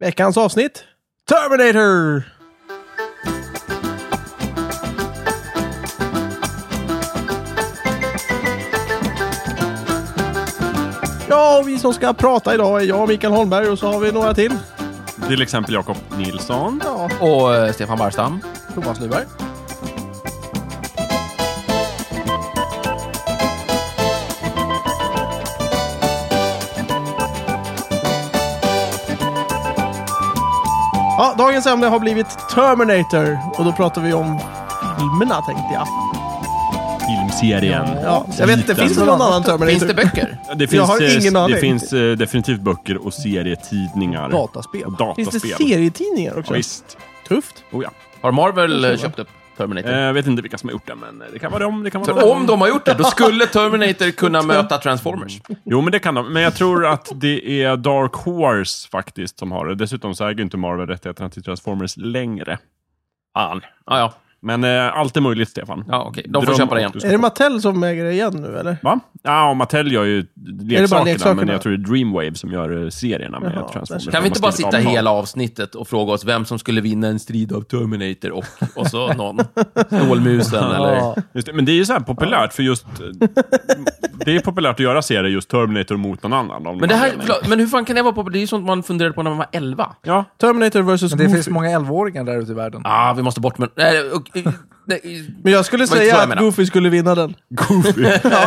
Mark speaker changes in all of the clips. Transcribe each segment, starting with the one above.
Speaker 1: Veckans avsnitt Terminator! Ja, och vi som ska prata idag är jag, Mikael Holmberg, och så har vi några till.
Speaker 2: Till exempel Jakob Nilsson.
Speaker 1: Ja,
Speaker 3: Och eh, Stefan Barstam.
Speaker 1: Thomas Nyberg. Ja, dagens ämne har blivit Terminator och då pratar vi om filmerna tänkte jag.
Speaker 2: Filmserien.
Speaker 1: Ja, jag vet inte,
Speaker 2: Liten.
Speaker 1: finns det någon annan Terminator?
Speaker 3: Finns det böcker?
Speaker 2: Det finns,
Speaker 1: Jag har
Speaker 2: eh,
Speaker 1: ingen aning.
Speaker 2: Det finns eh, definitivt böcker och serietidningar.
Speaker 3: Dataspel.
Speaker 2: Och
Speaker 1: Finns det
Speaker 2: dataspel.
Speaker 1: serietidningar
Speaker 2: Ja,
Speaker 1: också?
Speaker 2: visst.
Speaker 1: Tufft.
Speaker 2: Oh, ja.
Speaker 3: Har Marvel eh, köpt upp Terminator?
Speaker 2: Eh, Jag vet inte vilka som har gjort det, men det kan vara dem. Det kan vara
Speaker 3: För
Speaker 2: någon
Speaker 3: om de har gjort det, då skulle Terminator kunna möta Transformers.
Speaker 2: Jo, men det kan de. Men jag tror att det är Dark Horse faktiskt som har det. Dessutom så äger inte Marvel rättigheterna till Transformers längre. Fan.
Speaker 3: Ah, ja,
Speaker 2: Men eh, allt är möjligt, Stefan.
Speaker 3: ja okej. De får
Speaker 2: Dröm
Speaker 3: köpa det igen.
Speaker 2: om att du ska
Speaker 1: Är det
Speaker 2: få-
Speaker 1: Mattel som äger det igen nu eller?
Speaker 2: Va? Ja, och Mattel gör ju leksakerna, men
Speaker 1: leksakerna?
Speaker 2: jag tror det är Dreamwave som gör eh, serierna med
Speaker 1: Jaha,
Speaker 2: Transformers.
Speaker 3: Kan
Speaker 2: De
Speaker 3: vi inte
Speaker 2: har
Speaker 3: bara
Speaker 2: skrivit
Speaker 3: sitta
Speaker 2: avtal.
Speaker 3: hela avsnittet och fråga oss vem som skulle vinna en strid av Terminator och, och så någon? Stålmusen eller...
Speaker 1: Ja.
Speaker 2: Just det, men det är ju så här populärt, för just... det är populärt att göra serier just Terminator mot någon annan. av någon
Speaker 3: Men, det här,
Speaker 2: anledning.
Speaker 3: förlåt, men hur fan kan det vara på... Det är ju sånt man funderade på när man var 11.
Speaker 2: Ja,
Speaker 1: Terminator vs.
Speaker 4: Men det finns
Speaker 1: Goofy.
Speaker 4: många 11-åringar där ute i världen.
Speaker 3: Ah, vi måste bort med... Nej, och, eh, nej,
Speaker 1: Men jag skulle
Speaker 3: var inte så
Speaker 1: säga
Speaker 3: jag
Speaker 1: att
Speaker 3: menade.
Speaker 1: Goofy skulle vinna den.
Speaker 2: Goofy.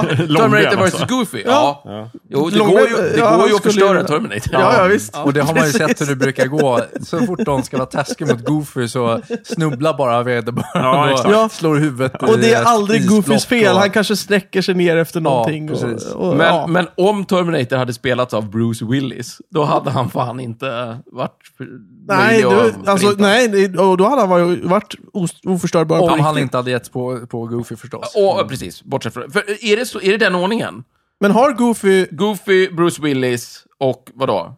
Speaker 2: Långben
Speaker 3: Terminator
Speaker 2: alltså.
Speaker 3: vs. Goofy? Ja. Jo, det
Speaker 1: Långben-
Speaker 3: går ju, det
Speaker 1: ja, han
Speaker 3: går ju att
Speaker 1: skulle
Speaker 3: förstöra
Speaker 1: göra det.
Speaker 3: Terminator.
Speaker 1: Ja, ja visst.
Speaker 4: Och det har man ju sett hur det brukar gå. Så fort någon ska vara taskig mot Goofy så snubblar bara
Speaker 2: Ja,
Speaker 4: vederbörande
Speaker 2: exakt.
Speaker 1: Ja.
Speaker 4: och slår huvudet i
Speaker 1: Och det är
Speaker 4: ett
Speaker 1: aldrig
Speaker 4: isblock
Speaker 1: Goofys fel.
Speaker 4: och-
Speaker 1: Han kanske sträcker sig ner efter någonting.
Speaker 4: precis.
Speaker 1: och, och,
Speaker 3: Men,
Speaker 1: ja.
Speaker 3: men om Terminator hade spelats av Bruce Willis, då hade han fan inte varit för-
Speaker 1: nej,
Speaker 3: möjlig
Speaker 1: du,
Speaker 3: att
Speaker 1: alltså,
Speaker 3: förinta.
Speaker 1: nej, det- och då hade han varit, varit os- oförstörbar på
Speaker 4: Om
Speaker 1: riktigt.
Speaker 4: han inte hade gett på, på Goofy förstås.
Speaker 3: Och, precis, bortsett från... För är, det så, är det den ordningen?
Speaker 1: Men har Goofy...
Speaker 3: Goofy, Bruce Willis och vadå?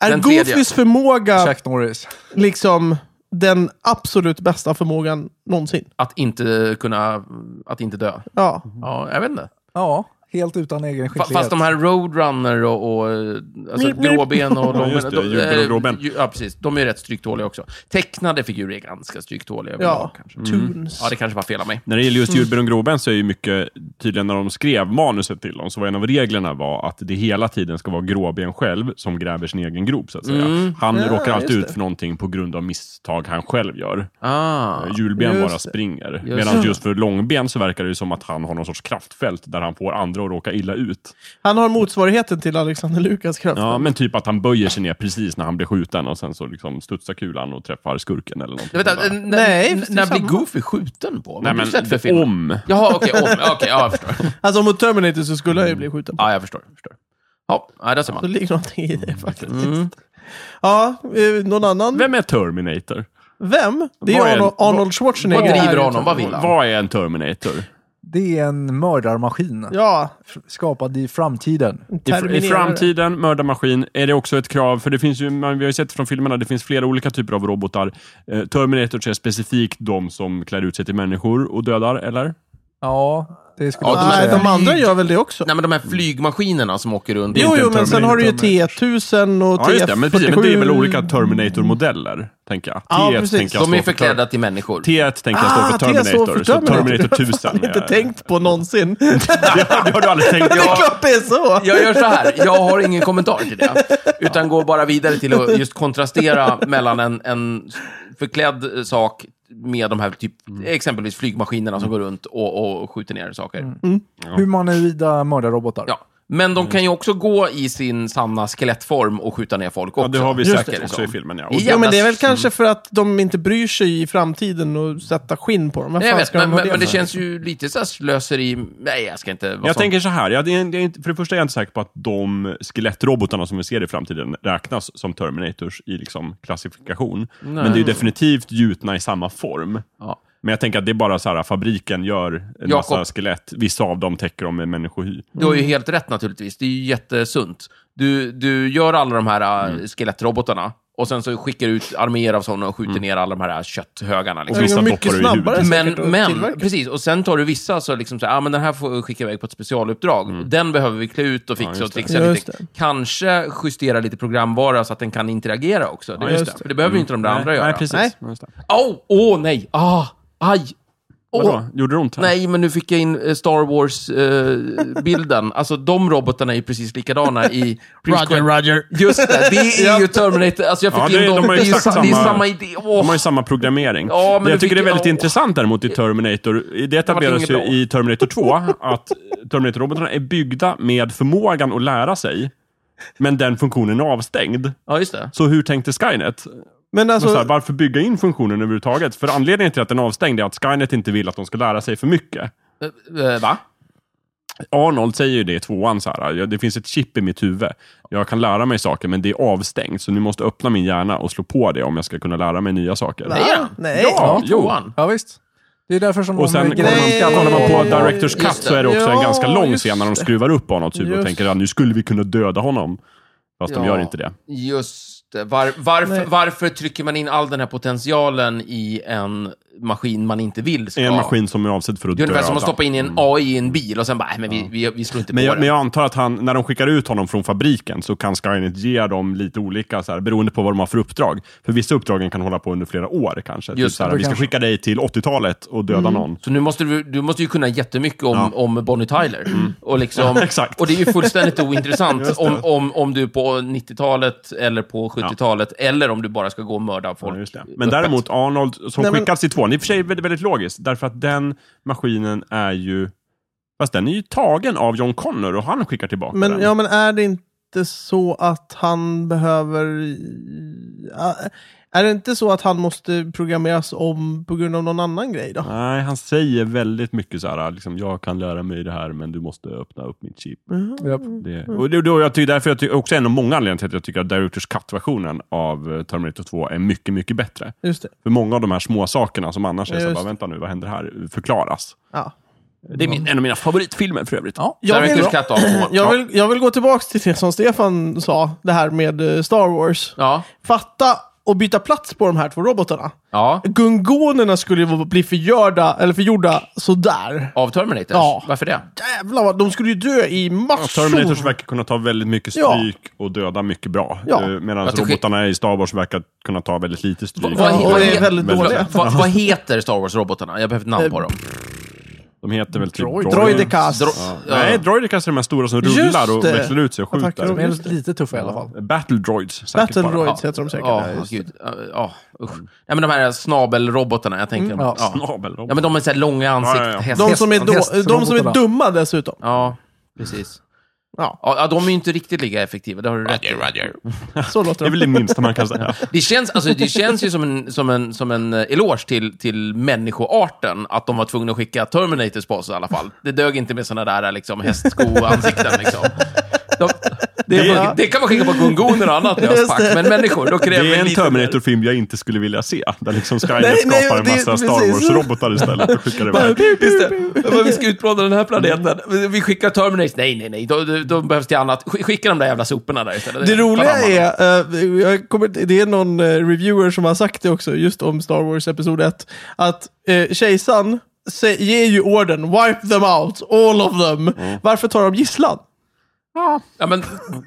Speaker 1: Är
Speaker 3: Den tredje.
Speaker 1: Goofys förmåga
Speaker 4: Chuck Norris.
Speaker 1: liksom den absolut bästa förmågan någonsin?
Speaker 3: Att inte kunna... Att inte dö.
Speaker 1: Ja.
Speaker 3: Ja, jag vet inte.
Speaker 4: Ja, helt utan egen
Speaker 3: Fa-
Speaker 4: skicklighet.
Speaker 3: Fast de här Roadrunner och, och eh, alltså,
Speaker 1: Blip, blip.
Speaker 3: gråben och
Speaker 2: Ja, just det,
Speaker 3: de-
Speaker 2: djurben och gråben.
Speaker 3: eh, ju- Ja, precis. De är ju rätt stryktåliga också. Tecknade figurer är ganska stryktåliga.
Speaker 1: ja. Mm.
Speaker 3: Ja. Kanske. Mm.
Speaker 1: Tunes.
Speaker 3: ja, det kanske var fel av mig.
Speaker 2: När det gäller
Speaker 3: Mm.
Speaker 2: just Djurbergen och Groben så är ju mycket, tydligen när de skrev manuset till dem, så var en av reglerna var att det hela tiden ska vara Gråben själv som gräver sin egen grop, så att säga.
Speaker 3: Mm.
Speaker 2: Han
Speaker 1: Ja,
Speaker 2: råkar alltid
Speaker 1: just
Speaker 2: ut för någonting på grund av misstag han själv gör.
Speaker 3: Ah.
Speaker 2: Hjulben
Speaker 1: Just
Speaker 2: bara
Speaker 1: det.
Speaker 2: springer.
Speaker 3: det.
Speaker 2: Medan just för Långben så verkar det ju som att han har någon sorts kraftfält där han får andra att råka illa ut.
Speaker 1: Han har motsvarigheten till Alexander Lukas kraft.
Speaker 2: Ja, men typ att han böjer sig ner precis när han blir skjuten och sen så liksom studsar kulan och träffar skurken eller någonting.
Speaker 3: Vänta,
Speaker 2: sådär.
Speaker 3: n- n-
Speaker 1: Nej,
Speaker 3: n-
Speaker 1: fast det är
Speaker 3: när blir
Speaker 1: samma.
Speaker 3: Goofy skjuten på? Vad
Speaker 2: Nej,
Speaker 3: har du sett för
Speaker 2: men
Speaker 3: film?
Speaker 2: om.
Speaker 3: Jaha, okej, om. Okej, ja, jag förstår.
Speaker 1: Alltså mot Terminator så skulle han ju bli skjuten.
Speaker 3: Ja, jag förstår. jag förstår. Ja, ja, där
Speaker 1: Så
Speaker 3: ser
Speaker 1: det
Speaker 3: man.
Speaker 1: ligger någonting i det faktiskt. Ja, eh, någon annan?
Speaker 2: Vem är Terminator?
Speaker 1: Vem? Det är
Speaker 2: Vad är-
Speaker 1: Arnold, Arnold
Speaker 3: Vad
Speaker 1: Schwarzenegger.
Speaker 3: driver honom? Vad vill han?
Speaker 2: Vad är en Terminator?
Speaker 4: Det är en mördarmaskin
Speaker 1: Ja,
Speaker 4: skapad i framtiden.
Speaker 2: I, fr- I
Speaker 1: Terminerare.
Speaker 2: framtiden, mördarmaskin, är det också ett krav? För det finns ju, man, vi har ju sett från filmerna, det finns flera olika typer av robotar. Eh, Terminator är specifikt de som klär ut sig till människor och dödar, eller?
Speaker 4: Ja, det skulle
Speaker 3: Ja,
Speaker 4: jag
Speaker 1: Nej,
Speaker 4: säga.
Speaker 1: de andra gör väl det också?
Speaker 3: Nej, men de här flygmaskinerna som åker runt.
Speaker 1: Jo,
Speaker 3: Inte
Speaker 1: jo,
Speaker 3: en
Speaker 1: men sen har du ju
Speaker 4: Terminator.
Speaker 1: T1000 och
Speaker 2: Ja, just det. Men, precis,
Speaker 1: T47.
Speaker 2: men det är väl olika Terminator-modeller, tänker jag.
Speaker 1: Ja,
Speaker 2: T1
Speaker 1: precis.
Speaker 2: tänker jag
Speaker 3: De är
Speaker 2: står för Ter-
Speaker 3: förklädda till människor.
Speaker 2: T1 tänker jag står
Speaker 1: Ah,
Speaker 2: för
Speaker 1: T står
Speaker 2: Terminator,
Speaker 1: för
Speaker 2: så Terminator
Speaker 1: Det
Speaker 2: 1000
Speaker 1: har jag inte
Speaker 2: är-
Speaker 1: tänkt på någonsin. det
Speaker 2: Det har, det har du aldrig tänkt på.
Speaker 1: är klart det är så!
Speaker 3: Jag gör så här, jag har ingen kommentar till det. Utan går bara vidare till att just kontrastera mellan en, en förklädd eh, sak med de här typ, exempelvis flygmaskinerna som går runt och, och skjuter ner saker.
Speaker 4: Humanoida mördarrobotar.
Speaker 3: Ja. Men de kan ju också gå i sin sanna skelettform och skjuta ner folk
Speaker 2: Ja,
Speaker 3: också.
Speaker 2: det har vi
Speaker 3: Just
Speaker 2: sagt
Speaker 3: det,
Speaker 2: också
Speaker 3: liksom.
Speaker 2: i filmen. Ja. Och
Speaker 3: Igen.
Speaker 1: Jo, men det är väl kanske för att de inte bryr sig i framtiden och sätta skinn på dem. Vad
Speaker 3: Nej, jag
Speaker 1: fan
Speaker 3: vet,
Speaker 1: ska
Speaker 3: men,
Speaker 1: de ha
Speaker 3: men, men det
Speaker 1: för?
Speaker 3: känns ju lite så här slöseri... Nej, jag ska inte vara
Speaker 2: Jag
Speaker 3: sån.
Speaker 2: tänker så här, jag, det är- det är inte- för det första är jag inte säker på att de skelettrobotarna som vi ser i framtiden räknas som Terminators i liksom klassifikation. Men det är ju definitivt gjutna i samma form.
Speaker 3: Ja.
Speaker 2: Men jag tänker att det är bara så här, fabriken gör en massa
Speaker 3: Jakob.
Speaker 2: skelett. Vissa av dem täcker de med människohy.
Speaker 3: Du har ju helt
Speaker 2: Mm.
Speaker 3: rätt naturligtvis. Det är ju jättesunt. Du, du gör alla de här äh, skelettrobotarna och Och sen så skickar ut arméer av sådana och skjuter
Speaker 2: Mm.
Speaker 3: ner alla de här kötthögarna.
Speaker 2: Och
Speaker 3: Liksom.
Speaker 2: vissa
Speaker 1: Det är
Speaker 2: doppar
Speaker 1: mycket
Speaker 2: du i huvudet.
Speaker 1: snabbare
Speaker 3: Men,
Speaker 1: säkert att
Speaker 3: men
Speaker 1: tillverka.
Speaker 3: precis. Och sen tar du vissa, så liksom så här, ah, men den här får vi skicka iväg på ett specialuppdrag. Den behöver vi klä ut och fixa
Speaker 2: Mm. just
Speaker 3: och
Speaker 2: det.
Speaker 3: trixa
Speaker 1: Just
Speaker 3: lite. Kanske justera lite programvara så att den kan interagera också. Det,
Speaker 1: just
Speaker 3: just det. För det behöver ju inte de där andra göra.
Speaker 2: Mm. Nej, precis.
Speaker 1: Nej.
Speaker 2: Just det.
Speaker 3: Åh, åh, nej! Ah, aj! Åh,
Speaker 2: Vadå? Gjorde det ont? här?
Speaker 3: Nej, men nu fick jag in eh, Star Wars-bilden. alltså, de robotarna är ju precis likadana i...
Speaker 1: Roger.
Speaker 3: Just det, det är ju Terminator. Alltså, jag fick
Speaker 2: Ja,
Speaker 3: in
Speaker 2: det-
Speaker 3: dem.
Speaker 2: de har ju
Speaker 3: det, är ju,
Speaker 2: exakt
Speaker 3: sa- det är
Speaker 2: samma-
Speaker 3: samma idé. Åh.
Speaker 2: De har ju samma programmering.
Speaker 3: Ja, men
Speaker 2: men
Speaker 3: det
Speaker 2: jag tycker det är
Speaker 3: fick-
Speaker 2: väldigt
Speaker 3: ja.
Speaker 2: intressant däremot i Terminator. Det
Speaker 3: inget
Speaker 2: etableras ju
Speaker 3: bra.
Speaker 2: i Terminator 2 att Terminator-robotarna är byggda med förmågan att lära sig, men den funktionen är avstängd.
Speaker 3: Ja, just det.
Speaker 2: Så hur tänkte Skynet?
Speaker 1: Men
Speaker 2: Men så här,
Speaker 1: alltså,
Speaker 2: varför bygga in funktionen överhuvudtaget? För anledningen till att den är avstängd är att Skynet inte vill att de ska lära sig för mycket.
Speaker 3: Eh, eh, va?
Speaker 2: Arnold säger ju det i tvåan, så här, "Ja, det finns ett chip i mitt huvud. Jag kan lära mig saker, men det är avstängt, så nu måste jag öppna min hjärna och slå på det om jag ska kunna lära mig nya saker.
Speaker 1: Nej.
Speaker 3: Ja,
Speaker 1: Nej.
Speaker 3: Ja,
Speaker 2: Jo.
Speaker 3: tvåan.
Speaker 4: Ja, visst. Det är därför som
Speaker 2: Och sen
Speaker 4: de grejerna
Speaker 1: Nej.
Speaker 2: kollar
Speaker 4: ska-
Speaker 2: man, kollar man på
Speaker 1: Ja,
Speaker 2: Directors Cut
Speaker 3: just det.
Speaker 2: så är det också
Speaker 1: Ja,
Speaker 2: en ganska lång
Speaker 1: just
Speaker 2: scen när de
Speaker 1: det.
Speaker 2: skruvar upp Arnolds huvud
Speaker 1: Just
Speaker 2: och tänker att nu skulle vi kunna döda honom. Fast de
Speaker 3: Ja.
Speaker 2: gör inte det.
Speaker 3: Just det. Var, varför,
Speaker 1: Nej.
Speaker 3: varför trycker man in all den här potentialen i en maskin man inte vill ska?
Speaker 2: Det är en maskin som är avsedd för att
Speaker 3: Det är ungefär som
Speaker 2: döda.
Speaker 3: att stoppa in en AI i en bil och sen bara, "Nej, men vi, vi, vi slår inte
Speaker 2: Men
Speaker 3: på
Speaker 2: jag,
Speaker 3: det.
Speaker 2: men jag antar att han, när de skickar ut honom från fabriken så kan Skynet ge dem lite olika, så här, beroende på vad de har för uppdrag. För vissa uppdragen kan hålla på under flera år kanske. Typ
Speaker 3: Just
Speaker 2: så här,
Speaker 4: det,
Speaker 2: vi ska
Speaker 4: kanske.
Speaker 2: skicka dig till 80-talet och döda
Speaker 1: Mm.
Speaker 2: någon.
Speaker 3: Så nu måste du, du måste ju kunna jättemycket om, om Bonnie Tyler. Och, liksom,
Speaker 2: Mm. Ja, exakt.
Speaker 3: och det är ju fullständigt ointressant om, om, om du är på 90-talet eller på 70-talet, eller om du bara ska gå och mörda folk.
Speaker 2: Ja, just det. Men däremot Arnold, som
Speaker 1: Nej, men-
Speaker 2: skickas till tvåan, i och för sig är väldigt, väldigt logiskt, därför att den maskinen är ju... Fast den är ju tagen av John Connor och han skickar tillbaka
Speaker 1: men,
Speaker 2: den.
Speaker 1: ja, men är det inte så att han behöver... Ja, Är det inte så att han måste programmeras om på grund av någon annan grej då?
Speaker 2: Nej, han säger väldigt mycket så här, liksom, jag kan lära mig det här, men du måste öppna upp mitt chip.
Speaker 1: Mm.
Speaker 4: Japp.
Speaker 2: Det, och det, då, jag tycker, därför jag tycker också en av många anledningar till att jag tycker att Directors Cut-versionen av eh, Terminator 2 är mycket, mycket bättre.
Speaker 1: Just det.
Speaker 2: För många av de här små sakerna som annars är så här,
Speaker 1: Just.
Speaker 2: bara, vänta nu, vad händer här? Förklaras.
Speaker 1: Ja.
Speaker 2: Det är min, en av mina favoritfilmer för övrigt. Ja.
Speaker 1: Jag vill,
Speaker 3: Directors Cut av två.
Speaker 1: jag, vill, jag vill gå tillbaka till det som Stefan sa, det här med eh, Star Wars.
Speaker 3: Ja,
Speaker 1: Fatta och byta plats på de här två robotarna.
Speaker 3: ja.
Speaker 1: Gungonerna skulle ju bli förgörda, eller förgjorda sådär.
Speaker 3: Av Terminator?
Speaker 1: Ja.
Speaker 3: Varför det?
Speaker 1: Jävlar vad, de skulle ju dö i massor.
Speaker 2: Terminators verkar kunna ta väldigt mycket
Speaker 1: Ja.
Speaker 2: stryk och döda mycket bra.
Speaker 1: Ja.
Speaker 2: Eh, Medan
Speaker 3: Jag tycker-
Speaker 2: robotarna i Star Wars verkar kunna ta väldigt lite stryk.
Speaker 1: vad-
Speaker 3: he-
Speaker 1: och det är
Speaker 3: he-
Speaker 1: väldigt
Speaker 3: Förlåt,
Speaker 1: dåliga. Eh,
Speaker 3: Vad, vad heter Star Wars-robotarna? Jag behöver ett namn på dem.
Speaker 2: De heter väl typ...
Speaker 4: Droid-
Speaker 1: Droidicast.
Speaker 3: Dro- ja.
Speaker 2: Nej, Droidicast är de här stora som
Speaker 1: Just
Speaker 2: rullar och
Speaker 1: det.
Speaker 2: växlar ut sig och
Speaker 1: Attacker
Speaker 2: skjuter.
Speaker 1: och-
Speaker 4: De är lite tuffa i alla fall.
Speaker 2: Battle Droids. säkert
Speaker 1: Battle
Speaker 2: bara.
Speaker 1: Droids heter de säkert.
Speaker 3: Ja, gud. Ja, ja, usch. Nej, men de här snabelrobotarna, jag tänker...
Speaker 4: ja.
Speaker 3: ja.
Speaker 2: Snabelrobot.
Speaker 3: Ja, men de är så här långa ansikten.
Speaker 2: Ja, ja, ja.
Speaker 3: häst-
Speaker 1: Mm, De som, är
Speaker 3: häst-
Speaker 1: då, de som är
Speaker 4: hästrobotarna.
Speaker 1: dumma dessutom.
Speaker 3: Ja, precis.
Speaker 1: Ja.
Speaker 3: Ja, de är ju inte riktigt lika effektiva, det har du rätt i.
Speaker 1: Så låter
Speaker 2: Det är väl det minsta man kan säga.
Speaker 3: Det känns, alltså, det känns ju som en, som en, som en eh, eloge till, till människoarten att de var tvungna att skicka Terminators på oss i alla fall. Det dög inte med sådana där liksom, hästsko-ansikten. Liksom. De, det,
Speaker 1: Det-
Speaker 3: det kan man skicka på gungoner och annat
Speaker 1: Just
Speaker 3: löspack,
Speaker 1: det.
Speaker 3: men människor, då kräver
Speaker 2: Det är en
Speaker 3: lite mer.
Speaker 2: Terminator-film jag inte skulle vilja se. Där liksom Skynet
Speaker 1: Nej, nej,
Speaker 2: skapar en
Speaker 1: det-
Speaker 2: massa Star
Speaker 1: precis.
Speaker 2: Wars-robotar istället och skickar iväg.
Speaker 3: Just det. Men vi ska utplåna den här planeten. Vi skickar Terminators. Nej, nej, nej. De, de, de behövs till annat. Sk- Skicka de där jävla soporna där istället.
Speaker 1: Det roliga
Speaker 3: Ta hand om dem.
Speaker 1: är, eh, jag kommer, inte- det är någon eh, reviewer som har sagt det också, just om Star Wars Episod 1, att eh, kejsaren sä- ger ju orden wipe them out, all of them.
Speaker 3: Mm.
Speaker 1: Varför tar de gisslan?
Speaker 3: Ja, men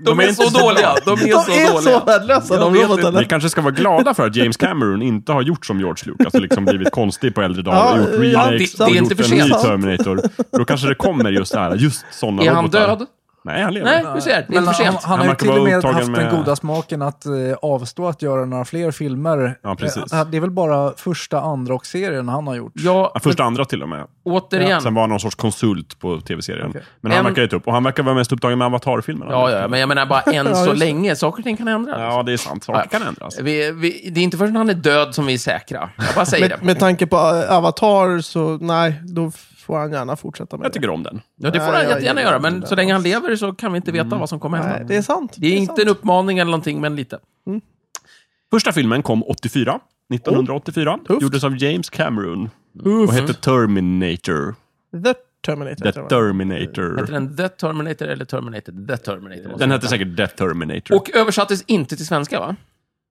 Speaker 3: de,
Speaker 2: är
Speaker 3: är,
Speaker 2: inte
Speaker 3: så
Speaker 2: så
Speaker 3: dåliga. De är
Speaker 1: De
Speaker 3: så
Speaker 1: är
Speaker 3: dåliga.
Speaker 1: så värdelösa, de robotarna.
Speaker 2: Vi kanske ska vara glada för att James Cameron inte har gjort som George Lucas och liksom blivit konstig på äldre dagar
Speaker 1: Ja,
Speaker 2: och gjort
Speaker 1: ja,
Speaker 2: remakes
Speaker 1: det-
Speaker 2: och
Speaker 1: det är
Speaker 2: gjort
Speaker 3: inte
Speaker 2: en
Speaker 3: för
Speaker 2: ny
Speaker 1: sent.
Speaker 2: Terminator. Då kanske det kommer just det här, just sådana
Speaker 3: Är
Speaker 2: robotar.
Speaker 3: han död?
Speaker 2: Nej, han lever.
Speaker 3: Nej, du ser. Det är
Speaker 4: Men
Speaker 3: inte för
Speaker 4: han,
Speaker 3: sent.
Speaker 4: han
Speaker 2: Han
Speaker 4: har ju
Speaker 2: verkar
Speaker 4: till
Speaker 2: vara
Speaker 4: och med
Speaker 2: upptagen
Speaker 4: haft
Speaker 2: med-
Speaker 4: den goda smaken att eh, avstå att göra några fler filmer.
Speaker 2: Ja, precis.
Speaker 4: Eh, det är väl bara första, andra och serien han har gjort.
Speaker 3: Ja,
Speaker 2: Ja, Första andra till och med.
Speaker 3: återigen.
Speaker 2: Sen var han någon sorts konsult på tv-serien.
Speaker 4: Okej.
Speaker 2: Men han
Speaker 3: En-
Speaker 2: verkar ju inte upp. Och han verkar vara mest upptagen med Avatar-filmerna.
Speaker 3: Ja, ja, men jag menar bara än
Speaker 1: Ja,
Speaker 3: så
Speaker 1: just det.
Speaker 3: länge. Saker och ting kan ändras.
Speaker 2: ja, det är sant. Saker kan ändras.
Speaker 3: Vi, vi, det är inte förrän han är död som vi är säkra. Jag bara säger det.
Speaker 1: Med, med tanke på eh, Avatar så nej, då får han gärna fortsätta med
Speaker 2: Jag
Speaker 1: det.
Speaker 2: tycker om den.
Speaker 3: Ja, det får
Speaker 1: Nej,
Speaker 3: han
Speaker 1: jag
Speaker 3: jättegärna
Speaker 1: gillar
Speaker 3: göra,
Speaker 1: den
Speaker 3: men
Speaker 1: där Mm.
Speaker 3: så länge han lever så kan vi inte veta vad som kommer
Speaker 1: Nej,
Speaker 3: hända.
Speaker 1: det är sant.
Speaker 3: Det är
Speaker 1: sant.
Speaker 3: inte en uppmaning eller någonting, men lite.
Speaker 2: Första filmen kom 84. 1984.
Speaker 1: tufft.
Speaker 2: Gjordes av James Cameron.
Speaker 1: Uff.
Speaker 2: Och hette Terminator.
Speaker 1: The Terminator.
Speaker 2: The
Speaker 1: heter den.
Speaker 2: Terminator.
Speaker 3: Heter den The Terminator eller Terminator? The Terminator. måste
Speaker 2: Den
Speaker 3: den
Speaker 2: hette säkert The Terminator.
Speaker 3: Och översattes inte till svenska, va?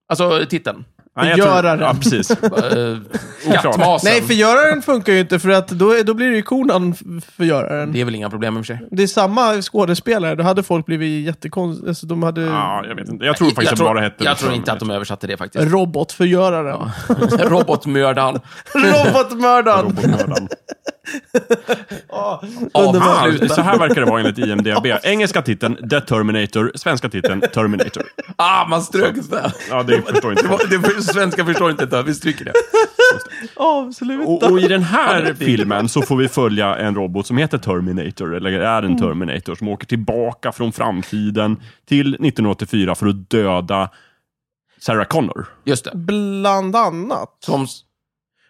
Speaker 3: Alltså titeln.
Speaker 2: Nej, jag
Speaker 1: Göra
Speaker 2: tror, ja,
Speaker 1: den.
Speaker 2: precis.
Speaker 3: Eh, Skattmasen.
Speaker 1: Nej, förgöraren funkar ju inte, för att då, är, då blir det ju konan f- förgöraren.
Speaker 3: Det är väl inga problem i och för sig.
Speaker 1: Det är samma skådespelare, då hade folk blivit jättekonstiga. Alltså, de hade
Speaker 2: Ja, jag vet inte. Jag tror faktiskt
Speaker 3: jag
Speaker 2: att det bara hette... liksom,
Speaker 3: jag tror inte att de översatte det faktiskt.
Speaker 1: robotförgöraren.
Speaker 3: Robotmördaren.
Speaker 1: Robotmördaren!
Speaker 2: Robotmördaren.
Speaker 1: Underbart.
Speaker 2: Ah, så här verkar det vara enligt IMDB. Engelska titeln The Terminator, svenska titeln Terminator.
Speaker 3: Ah, man strök det.
Speaker 2: Ja, det förstår inte jag.
Speaker 3: det för, svenska förstår inte det. Vi stryker det.
Speaker 1: Absolut.
Speaker 2: Och, och i den här filmen så får vi följa en robot som heter Terminator, eller är
Speaker 3: Mm.
Speaker 2: en Terminator, som åker tillbaka från framtiden till 1984 för att döda Sarah Connor.
Speaker 3: Just det.
Speaker 1: Bland annat.
Speaker 3: Som,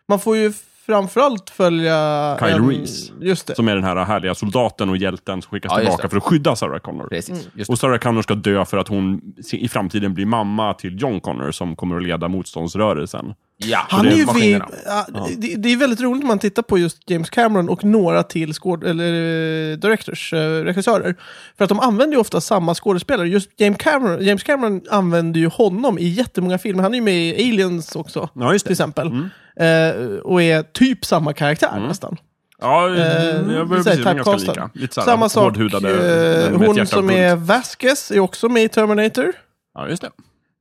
Speaker 1: Man får ju framförallt följa...
Speaker 2: Kyle
Speaker 1: en-
Speaker 2: Reese.
Speaker 1: Just det.
Speaker 2: Som är den här härliga soldaten och hjälten som skickas
Speaker 3: Ja, just
Speaker 2: tillbaka
Speaker 3: det.
Speaker 2: för att skydda Sarah Connor.
Speaker 3: precis. Just det.
Speaker 2: Och Sarah Connor ska dö för att hon se- i framtiden blir mamma till John Connor som kommer att leda motståndsrörelsen.
Speaker 3: Ja,
Speaker 1: Han
Speaker 3: det
Speaker 1: är ju vid,
Speaker 3: maskinerna.
Speaker 1: ja, det, det är väldigt roligt när man tittar på just James Cameron och några till skåd, eller, eh, directors, eh, regissörer. För att de använder ju ofta samma skådespelare. Just James Cameron, James Cameron använder ju honom i jättemånga filmer. Han är ju med i Aliens också,
Speaker 2: Ja, just
Speaker 1: till
Speaker 2: det.
Speaker 1: exempel.
Speaker 2: Mm.
Speaker 1: Eh, och är typ samma karaktär nästan.
Speaker 2: Ja,
Speaker 1: Eh,
Speaker 2: jag
Speaker 1: så
Speaker 2: börjar
Speaker 1: här,
Speaker 2: Mm. precis, de är ganska
Speaker 1: typecastad.
Speaker 2: lika. Lite så här
Speaker 1: Samma sak,
Speaker 2: hårdhudade,
Speaker 1: eh,
Speaker 2: men med ett
Speaker 1: hon
Speaker 2: hjärta av
Speaker 1: som
Speaker 2: guld.
Speaker 1: är Vasquez är också med i Terminator.
Speaker 2: Ja, just det.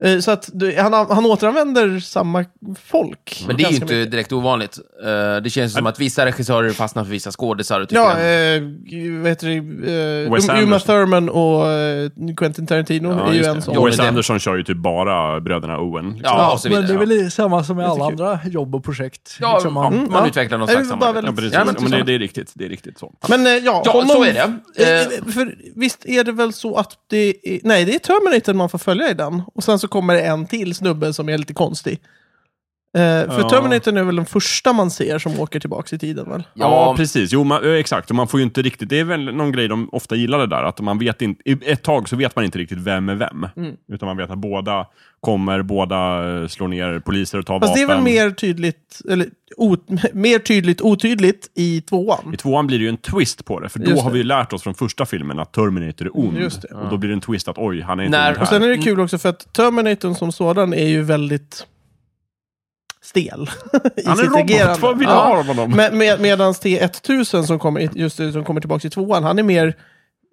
Speaker 1: Eh, Så att du, han, han återanvänder samma folk.
Speaker 3: Men det är ju
Speaker 1: ganska
Speaker 3: inte typ
Speaker 1: mycket.
Speaker 3: direkt ovanligt. Eh, Det känns som att vissa regissörer fastnar för vissa skådisar. och tycker
Speaker 1: Ja,
Speaker 3: att-
Speaker 1: eh, vad heter det? Eh,
Speaker 2: Wes
Speaker 1: Um- Uma
Speaker 2: Anderson.
Speaker 1: Thurman och eh, Quentin Tarantino är ju en
Speaker 2: just det.
Speaker 1: sån.
Speaker 3: Jo,
Speaker 2: Wes
Speaker 3: det-
Speaker 2: Anderson kör ju typ bara bröderna Owen. Liksom.
Speaker 3: Ja, och så vidare.
Speaker 4: Men det är väl samma som med alla andra jobb och projekt.
Speaker 3: Ja,
Speaker 4: Liksom man-
Speaker 3: man
Speaker 1: ja.
Speaker 3: utvecklar någon
Speaker 1: Det är
Speaker 3: slags
Speaker 1: bara
Speaker 3: samarbete.
Speaker 1: väldigt-
Speaker 2: Ja, precis.
Speaker 3: Ja, men
Speaker 2: men det,
Speaker 3: precis.
Speaker 2: det är riktigt. Det är riktigt så.
Speaker 1: Men eh, ja,
Speaker 3: Ja,
Speaker 1: honom,
Speaker 3: så är det. Eh,
Speaker 1: Eh, för, visst är det väl så att det är, Nej, det är Terminator man får följa i den. Och sen så kommer det en till snubbe som är lite konstig. Eh, för
Speaker 2: Ja.
Speaker 1: Terminator är väl den första man ser som åker tillbaka i tiden väl?
Speaker 2: Ja,
Speaker 3: Ja, eh,
Speaker 2: precis. Jo, man, ö, exakt. Och man får ju inte riktigt... Det är väl någon grej de ofta gillar det där, att man vet inte... i- Ett tag så vet man inte riktigt vem är vem.
Speaker 1: Mm.
Speaker 2: Utan man vet att båda kommer, båda eh, slår ner poliser och tar
Speaker 1: Fast det
Speaker 2: vapen.
Speaker 1: är väl mer tydligt, eller ot, mer tydligt otydligt i tvåan.
Speaker 2: I tvåan blir det ju en twist på det, för då
Speaker 1: Just
Speaker 2: har
Speaker 1: det.
Speaker 2: vi ju lärt oss från första filmen att Terminator är ond.
Speaker 1: Just det.
Speaker 2: Och då blir det en twist att oj, han är inte
Speaker 3: När-
Speaker 2: ond
Speaker 1: Och
Speaker 2: här.
Speaker 1: sen är det kul också för att Terminatorn som sådan är ju väldigt stel i
Speaker 2: Han är
Speaker 1: sitt agerande.
Speaker 2: robot, vad vill du
Speaker 1: Ja.
Speaker 2: ha av honom?
Speaker 1: Med, med, Medan T1000 som kommer, i- just det, som kommer tillbaka i tvåan, han är mer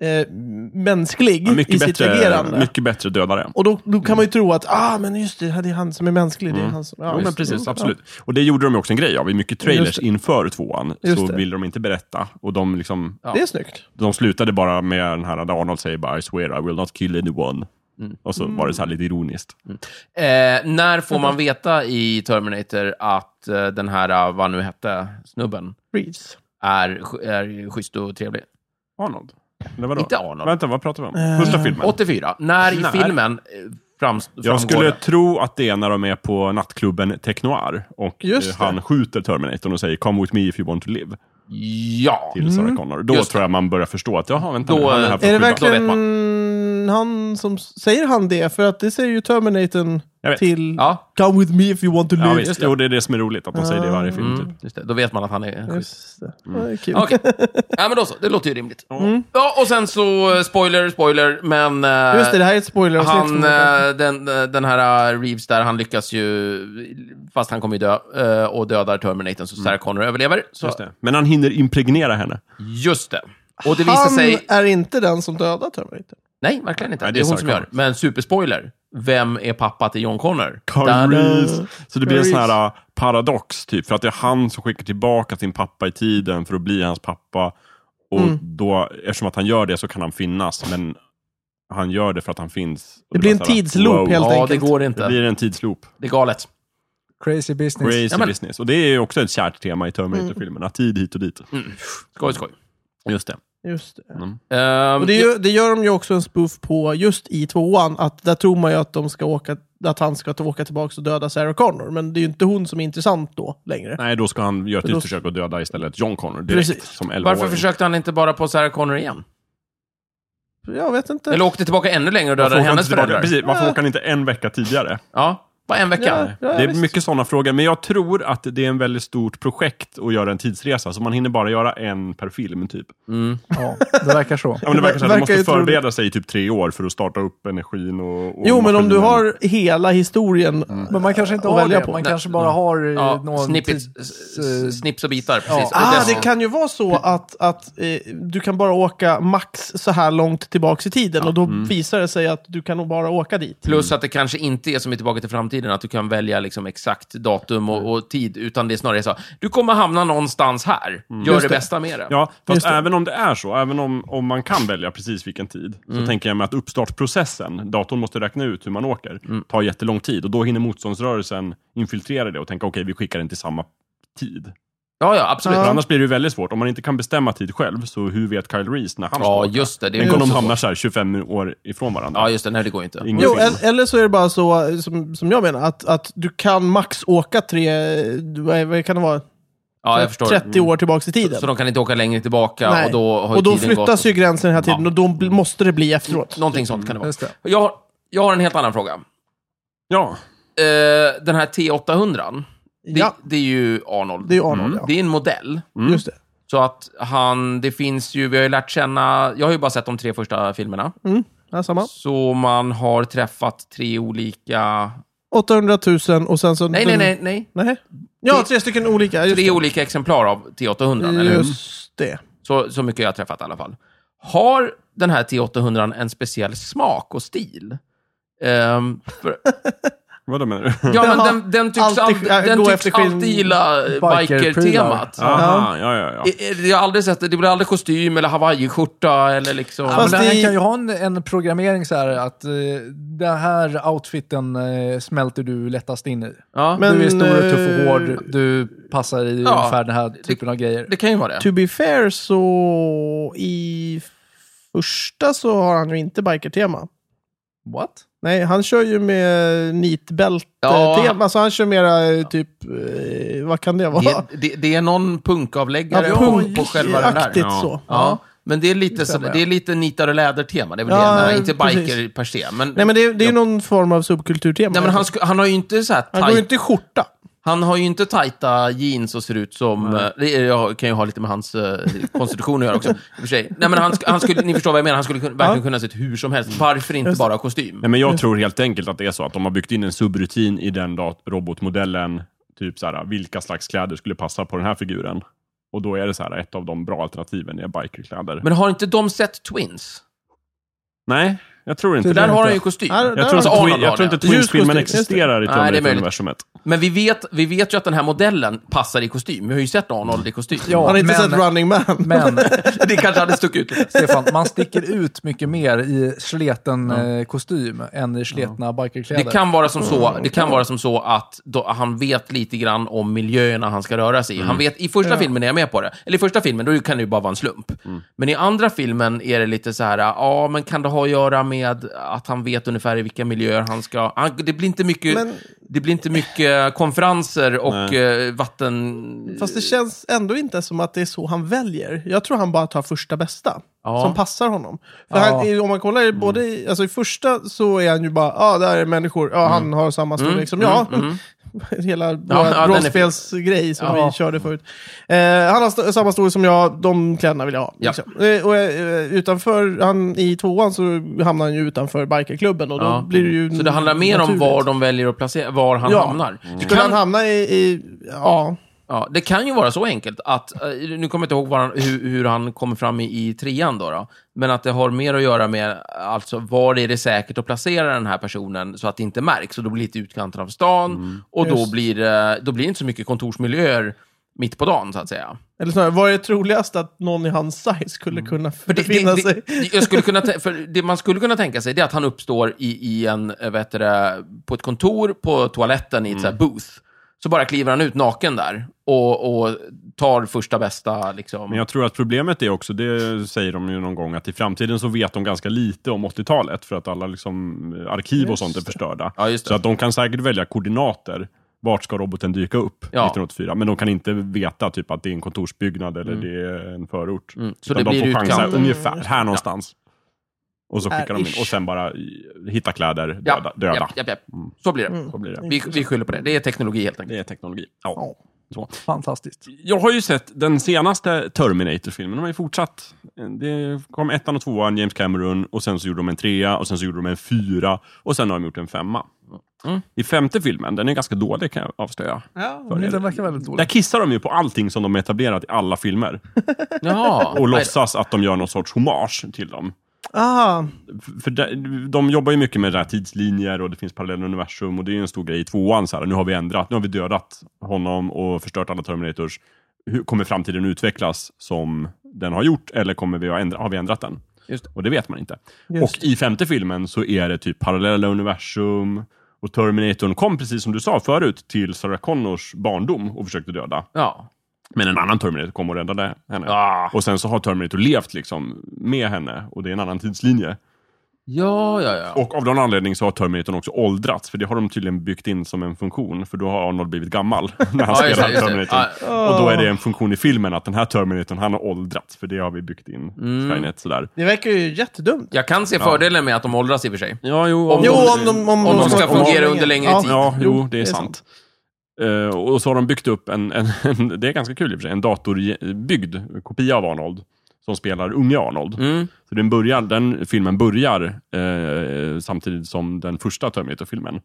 Speaker 1: eh, mänsklig
Speaker 2: Ja,
Speaker 1: i
Speaker 2: mycket,
Speaker 1: sitt agerande.
Speaker 2: bättre, mycket bättre dödare.
Speaker 1: Och då, då kan man ju tro att, ah men just det, det är han som är mänsklig. Det är han som, ja,
Speaker 2: Mm. Jo, men
Speaker 1: visst.
Speaker 2: precis,
Speaker 1: Ja.
Speaker 2: absolut. Och det gjorde de ju också en grej av. I mycket
Speaker 1: Just
Speaker 2: trailers
Speaker 1: det.
Speaker 2: inför tvåan
Speaker 1: Just
Speaker 2: så
Speaker 1: det.
Speaker 2: ville de inte berätta. Och de, liksom,
Speaker 3: Ja.
Speaker 1: Det är snyggt.
Speaker 2: de slutade bara med den här där Arnold säger bara I swear I will not kill anyone.
Speaker 1: Mm.
Speaker 2: Och så var det så här lite ironiskt.
Speaker 3: Eh, när får man veta i Terminator att eh, den här, eh, vad nu hette, snubben,
Speaker 1: Reeves.
Speaker 3: är, sch- är schysst och trevlig?
Speaker 2: Arnold? Eller vadå?
Speaker 3: Inte Arnold.
Speaker 2: Vänta, vad pratar vi
Speaker 1: Eh.
Speaker 2: om? Första filmen?
Speaker 3: 84. När i
Speaker 2: När?
Speaker 3: filmen eh, fram, framgår
Speaker 2: Jag skulle
Speaker 3: det?
Speaker 2: tro att det är när de är på nattklubben Technoir och eh,
Speaker 1: Just det.
Speaker 2: han skjuter Terminatorn och säger “Come with me if you want to live”
Speaker 3: Ja.
Speaker 2: till Sarah Connor. Då
Speaker 3: Just det.
Speaker 2: tror jag man börjar förstå att jaha, vänta
Speaker 3: Då, eh,
Speaker 2: nu, han är här för
Speaker 1: Mm. Är det
Speaker 2: att skydda-
Speaker 3: vet
Speaker 1: verkligen han som, säger han det? För att det säger ju Terminatorn
Speaker 2: Jag vet.
Speaker 1: till
Speaker 3: Ja,
Speaker 1: Come with me if you want to
Speaker 2: Ja,
Speaker 1: live.
Speaker 2: visst. Jo, det är det som är roligt, att de säger det i varje film.
Speaker 1: Ah.
Speaker 2: Typ.
Speaker 3: mm, just det. Då vet man att han är schysst.
Speaker 1: Just det. Ja, det är kul.
Speaker 3: Okej. ja, men då så. Det låter ju rimligt. Mm. Ja, och sen så, eh, spoiler, spoiler, men... eh,
Speaker 1: Just det, det här är ett spoileravsnitt.
Speaker 3: Han,
Speaker 1: förmodligen.
Speaker 3: eh, den, eh, den här eh, Reeves där, han lyckas ju, fast han kommer ju dö, eh, och dödar Terminatorn så Sarah Connor överlever. Så,
Speaker 2: Just det. Men han hinner impregnera henne.
Speaker 3: Just det. Och det visar
Speaker 1: han
Speaker 3: sig...
Speaker 1: är inte den som dödar Terminator.
Speaker 3: Nej, verkligen inte.
Speaker 2: Nej,
Speaker 3: det,
Speaker 2: det
Speaker 3: är
Speaker 2: är
Speaker 3: hon
Speaker 2: Sarah
Speaker 3: som gör.
Speaker 2: Connor.
Speaker 3: Men superspoiler. Vem är pappa till John Connor?
Speaker 2: Carl
Speaker 3: Där-
Speaker 2: Reeves. Så det blir en
Speaker 1: Reeves.
Speaker 2: sån här uh, paradox, typ. För att det är han som skickar tillbaka sin pappa i tiden för att bli hans pappa. Och
Speaker 1: Mm.
Speaker 2: då, eftersom att han gör det så kan han finnas, men han gör det för att han finns. Och
Speaker 1: Det blir en
Speaker 2: bara så här,
Speaker 1: tidsloop helt
Speaker 3: Ja, det
Speaker 1: enkelt.
Speaker 3: går
Speaker 2: Det
Speaker 3: inte.
Speaker 2: blir en tidsloop.
Speaker 3: Det är galet.
Speaker 4: Crazy business.
Speaker 2: Crazy
Speaker 3: Ja, men-
Speaker 2: business. Och det är ju också ett kärt tema i
Speaker 1: Mm.
Speaker 2: Terminator-filmerna. Tid hit och dit.
Speaker 3: Skoj, skoj.
Speaker 2: Just det.
Speaker 1: Just det.
Speaker 3: Ehm,
Speaker 1: Och det, är ju, det gör de ju också en spoof på just i tvåan, att där tror man ju att, de ska åka, att han ska ta- åka tillbaka och döda Sarah Connor, men det är ju inte hon som är intressant då längre.
Speaker 2: Nej, då ska han göra ett
Speaker 1: Då-
Speaker 2: nytt försök att döda istället John Connor direkt.
Speaker 1: Precis.
Speaker 2: Som
Speaker 3: Varför
Speaker 2: 11-åring.
Speaker 3: försökte han inte bara på Sarah Connor igen?
Speaker 1: Jag vet inte.
Speaker 3: Eller åkte tillbaka ännu längre och
Speaker 2: Varför
Speaker 3: dödade
Speaker 2: åker han
Speaker 3: hennes
Speaker 2: inte tillbaka-
Speaker 3: föräldrar?
Speaker 2: Precis, varför åker han inte en vecka tidigare?
Speaker 3: Ja. Bara en vecka?
Speaker 1: Ja,
Speaker 2: det är
Speaker 1: visst.
Speaker 2: mycket sådana frågor, men jag tror att det är en väldigt stort projekt att göra en tidsresa, så man hinner bara göra en per film, typ.
Speaker 4: Ja, det verkar så.
Speaker 2: Ja, men det
Speaker 1: Det
Speaker 2: verkar som att
Speaker 1: verkar
Speaker 2: man måste
Speaker 1: ju troligt.
Speaker 2: förbereda sig i typ tre år för att starta upp energin och, och
Speaker 1: Jo, men om du
Speaker 2: maskinen.
Speaker 1: har hela historien.
Speaker 3: Mm.
Speaker 4: Men man kanske inte
Speaker 1: Att
Speaker 4: har
Speaker 1: välja
Speaker 4: det.
Speaker 1: på.
Speaker 4: Man kanske bara har eh,
Speaker 3: Ja,
Speaker 4: någon
Speaker 3: snippets,
Speaker 4: tids, eh,
Speaker 3: s- snips och bitar. Precis. Och
Speaker 1: Ah, det
Speaker 3: dessutom-
Speaker 1: kan ju vara så att, att eh, du kan bara åka max så här långt tillbaks i tiden och då visar det sig att du kan nog bara åka dit.
Speaker 3: Mm. Plus att det kanske inte är som i Tillbaka till framtiden, att du kan välja liksom exakt datum och, och tid, utan det är snarare så du kommer hamna någonstans här. Gör det, bästa med det.
Speaker 2: Mm. Ja, fast
Speaker 1: Just det.
Speaker 2: även om det är så, även om, om man kan välja precis vilken tid,
Speaker 3: Mm.
Speaker 2: så tänker jag mig att uppstartprocessen, datorn måste räkna ut hur man åker,
Speaker 3: Mm.
Speaker 2: tar jättelång tid och då hinner motståndsrörelsen infiltrera det och tänka okej, vi skickar den till samma tid.
Speaker 3: Ja, ja, absolut.
Speaker 2: För
Speaker 3: Ja,
Speaker 2: annars blir det ju väldigt svårt. Om man inte kan bestämma tid själv, så hur vet Kyle Reese när han ska åka?
Speaker 3: just det. det är
Speaker 2: Tänk
Speaker 3: ju
Speaker 2: om de
Speaker 3: också
Speaker 2: hamnar
Speaker 3: så.
Speaker 2: så här 25 år ifrån varandra.
Speaker 3: Ja, just det. Nej, det går inte.
Speaker 2: Ingen
Speaker 1: Jo,
Speaker 2: film.
Speaker 1: el- eller så är det bara så, eh, som, som jag menar, att, att du kan max åka tre, eh, vad vad kan det vara,
Speaker 3: Ja, jag förstår. Mm.
Speaker 1: 30 år tillbaks i tiden.
Speaker 3: Så de kan inte åka längre tillbaka
Speaker 1: Nej.
Speaker 3: och då har ju
Speaker 1: och då
Speaker 3: tiden
Speaker 1: flyttas
Speaker 3: gått.
Speaker 1: ju gränsen hela tiden
Speaker 3: Ja. Mm.
Speaker 1: och då bl- måste det bli efteråt.
Speaker 3: Någonting sånt kan det vara.
Speaker 4: Just det.
Speaker 3: Jag har, jag har en helt annan fråga.
Speaker 2: ja.
Speaker 3: Eh, den här T800, det,
Speaker 1: Ja,
Speaker 3: det är ju Arnold.
Speaker 1: det är ju Arnold.
Speaker 3: Det är en modell.
Speaker 1: Ja. Just det.
Speaker 3: Så att han, det finns ju, vi har ju lärt känna, jag har ju bara sett de tre första filmerna.
Speaker 1: Ja, samma.
Speaker 3: Så man har träffat tre olika...
Speaker 1: 800 000 och sen så...
Speaker 3: Nej, nej, nej, nej.
Speaker 1: nej. Ja, tre stycken olika. Just
Speaker 3: Tre
Speaker 1: det.
Speaker 3: olika exemplar av T800, eller hur?
Speaker 1: Just det.
Speaker 3: Så, så mycket jag har träffat i alla fall. Har den här T800 en speciell smak och stil? Ehm, för,
Speaker 2: Vadå menar du?
Speaker 3: ja, men
Speaker 1: Ja,
Speaker 3: den, den tycks,
Speaker 1: alltid-
Speaker 3: alltid,
Speaker 1: äh,
Speaker 3: den
Speaker 1: gå
Speaker 3: tycks
Speaker 1: efter skinn-
Speaker 3: alltid gilla biker-temat.
Speaker 4: Biker-prylar.
Speaker 2: Aha, ja, ja, ja.
Speaker 3: I- i- Jag har aldrig sett det. Det blir aldrig kostym eller hawaiiskjorta eller liksom...
Speaker 4: Ja,
Speaker 1: Fast
Speaker 4: men
Speaker 1: det-
Speaker 4: den kan ju ha en, en programmering så här att eh, den här outfiten eh, smälter du lättast in i.
Speaker 3: Ja,
Speaker 1: Men,
Speaker 4: du är stor och tuff
Speaker 1: eh,
Speaker 4: och hård. Du passar i
Speaker 3: Ja,
Speaker 4: ungefär den här typen av grejer.
Speaker 3: det kan ju vara det.
Speaker 1: To be fair så i första så har han ju inte bikertema.
Speaker 4: What?
Speaker 1: Nej, han kör ju med
Speaker 3: Ja.
Speaker 1: nitbälte-tema. Alltså han kör mera eh, typ, eh, vad kan det vara?
Speaker 3: Det, det, det är någon
Speaker 1: Ja,
Speaker 3: punkavläggare på själva den där.
Speaker 1: punkaktigt
Speaker 2: Ja.
Speaker 1: så.
Speaker 3: Ja, men det är lite, så,
Speaker 4: stämmer,
Speaker 3: det är lite nitar och läder-tema. Det är väl
Speaker 1: Ja,
Speaker 3: det jag menar. Inte biker
Speaker 1: precis.
Speaker 3: per se. Men,
Speaker 1: Nej, men det, det är ju någon form av subkulturtema.
Speaker 3: Nej, men han, sku- han har ju inte så här
Speaker 1: han går ju
Speaker 3: tajt,
Speaker 1: inte i skjorta.
Speaker 3: han har ju inte tajta jeans och ser ut som... eh, Det är- jag kan ju ha lite med hans eh, konstitution att göra också. i och för sig. Nej, men han, sk- han skulle, ni förstår vad jag menar. Han skulle kun- verkligen
Speaker 1: Ja.
Speaker 3: kunna se ut hur som helst. Varför inte bara kostym?
Speaker 2: Nej, men jag tror helt enkelt att det är så att de har byggt in en subrutin i den dat- robotmodellen. Typ så här, vilka slags kläder skulle passa på den här figuren? Och då är det så här, ett av de bra alternativen är bikerkläder.
Speaker 3: Men har inte de sett Twins?
Speaker 2: Nej, jag tror inte
Speaker 1: Så
Speaker 2: det.
Speaker 3: Där har han ju kostym.
Speaker 1: Ja, där
Speaker 2: jag, tror
Speaker 1: har
Speaker 2: inte
Speaker 3: han-
Speaker 2: Twin,
Speaker 3: Arnold har
Speaker 2: jag tror
Speaker 3: det.
Speaker 2: inte Twins-filmen
Speaker 1: Ljus kostym, just det.
Speaker 2: existerar i
Speaker 3: Nej, det är möjligt.
Speaker 2: Terminator-universumet.
Speaker 3: Men vi vet, vi vet ju att den här modellen passar i kostym. Vi har ju sett Arnold i kostym.
Speaker 4: Ja.
Speaker 1: Han har inte
Speaker 4: men-
Speaker 1: sett Running Man.
Speaker 4: Men
Speaker 3: Det kanske hade stuckit ut lite.
Speaker 4: Stefan, man sticker ut mycket mer i sleten eh, kostym än i sletna bikerkläder.
Speaker 3: Det kan vara som så,
Speaker 1: Mm.
Speaker 3: det kan vara som så att då, han vet lite grann om miljöerna han ska röra sig i. Han vet, I första filmen är jag med på det. Eller i första filmen, då kan det ju bara vara en slump. Men i andra filmen är det lite så här, ja, men kan det ha att göra med att han vet ungefär i vilka miljöer han ska... Han, det, blir inte mycket,
Speaker 1: Men-
Speaker 3: det blir inte mycket eh, konferenser och eh, vatten...
Speaker 1: Fast det känns ändå inte som att det är så han väljer. Jag tror han bara tar första bästa.
Speaker 3: Ja. Mm.
Speaker 1: Som passar honom. För
Speaker 4: Ja.
Speaker 1: han, är- om man kollar i både i, alltså i första så är han ju bara, ja ah, där är människor, ja
Speaker 3: Mm.
Speaker 1: han har samma storlek som jag. Hela
Speaker 3: ja, den är
Speaker 1: vår
Speaker 3: fin.
Speaker 1: rollspelsgrej som
Speaker 4: Ja.
Speaker 1: vi körde förut. Eh, han har st- samma storlek som jag, de kläderna vill jag ha.
Speaker 3: Ja.
Speaker 1: Liksom. Eh, och, eh, utanför, han, i tvåan så hamnar han ju utanför bikerklubben och då
Speaker 3: Ja.
Speaker 1: blir det ju
Speaker 3: Så det handlar mer om
Speaker 1: naturligt.
Speaker 3: var de väljer att placera, var han
Speaker 1: Ja.
Speaker 3: hamnar. Det
Speaker 1: Skulle han
Speaker 3: kan,
Speaker 1: hamna i, i ja,
Speaker 3: ja, det kan ju vara så enkelt att, eh, nu kommer jag inte ihåg var han, hur, hur han kommer fram i, i trean då, då, men att det har mer att göra med, alltså var är det säkert att placera den här personen så att det inte märks, och då blir det lite utkanten av stan, och då
Speaker 1: Just.
Speaker 3: blir, det, då blir det inte så mycket kontorsmiljöer mitt på dagen, så att säga.
Speaker 1: Eller snarare, vad är troligast att någon i hans size skulle kunna
Speaker 3: Mm. För det,
Speaker 1: befinna
Speaker 3: det,
Speaker 1: sig?
Speaker 3: det, jag skulle kunna tän- för det man skulle kunna tänka sig det är att han uppstår i, i en, eh, vad heter det, på ett kontor, på toaletten i ett så här booth. Så bara kliver han ut naken där och, och tar första bästa liksom.
Speaker 2: Men jag tror att problemet är också, det säger de ju någon gång, att i framtiden så vet de ganska lite om 80-talet för att alla liksom, eh, arkiv och sånt är förstörda.
Speaker 3: Ja, just det.
Speaker 2: så att de kan säkert välja koordinater. Vart ska roboten dyka upp
Speaker 3: Ja.
Speaker 2: 1984? Men de kan inte veta typ att det är en kontorsbyggnad eller det är en förort.
Speaker 3: Mm, så
Speaker 2: Utan
Speaker 3: det
Speaker 2: de
Speaker 3: blir
Speaker 2: får chansa
Speaker 3: utkanten.
Speaker 2: ungefär här någonstans. Och så skickar de in.
Speaker 1: ish.
Speaker 2: Och sen bara eh, hitta kläder,
Speaker 3: Ja,
Speaker 2: döda. döda. Mm.
Speaker 3: japp, japp, japp. Så blir det.
Speaker 2: Så blir det.
Speaker 3: Vi, vi skyller på det. Det är teknologi helt enkelt.
Speaker 2: Det är teknologi. Ja. Så.
Speaker 4: Fantastiskt.
Speaker 2: Jag har ju sett den senaste Terminator-filmen. De har ju fortsatt. Det kom ettan och tvåan, James Cameron, och sen så gjorde de en trea, och sen så gjorde de en fyra, och sen har de gjort en femma. I femte filmen, den är ganska dålig kan jag avslöja.
Speaker 1: Ja.
Speaker 2: För-
Speaker 4: Den verkar väldigt
Speaker 2: Där
Speaker 4: dålig.
Speaker 2: kissar de ju på allting som de etablerat i alla filmer
Speaker 3: Ja.
Speaker 2: och låtsas att de gör någon sorts hommage till dem.
Speaker 1: Aha.
Speaker 2: F- För de, de jobbar ju mycket med det här tidslinjer och det finns parallella universum och det är ju en stor grej i tvåan. Så här, nu har vi ändrat, nu har vi dödat honom och förstört alla Terminators. Hur kommer framtiden utvecklas som den har gjort eller kommer vi ha ändra, har vi ändrat den?
Speaker 3: Just det.
Speaker 2: Och det vet man inte.
Speaker 1: Just
Speaker 2: och i femte filmen så är det typ parallella universum och Terminatorn kom, precis som du sa förut, till Sarah Connors barndom och försökte döda.
Speaker 3: Ja.
Speaker 2: Men en annan Terminator kom och räddade henne.
Speaker 3: Ja.
Speaker 2: Och sen så har Terminator levt liksom med henne och det är en annan tidslinje.
Speaker 3: Ja, ja, ja.
Speaker 2: Och av någon anledning så har Terminatorn också åldrats, för det har de tydligen byggt in som en funktion, för då har Arnold blivit gammal när han
Speaker 3: Ja, just
Speaker 2: spelar
Speaker 3: det, just det.
Speaker 2: Terminator.
Speaker 3: Ja.
Speaker 2: Och då är det en funktion i filmen att den här Terminatorn, han har åldrats, för det har vi byggt in.
Speaker 3: Mm.
Speaker 2: Skynet, sådär.
Speaker 1: Det verkar ju jättedumt.
Speaker 3: Jag kan se fördelen med att de åldras i och för sig.
Speaker 2: Ja, jo,
Speaker 3: Om
Speaker 1: Jo, om de, om
Speaker 3: Om de
Speaker 2: ska
Speaker 3: fungera under längre tid.
Speaker 2: Ja, jo, det är sant. Eh, och så har de byggt upp en, en, en det är ganska kul i och för sig, en datorbyggd kopia av Arnold, som spelar unge Arnold.
Speaker 3: Mm.
Speaker 2: Så den, börjar, den filmen börjar eh, samtidigt som den första Terminator-filmen.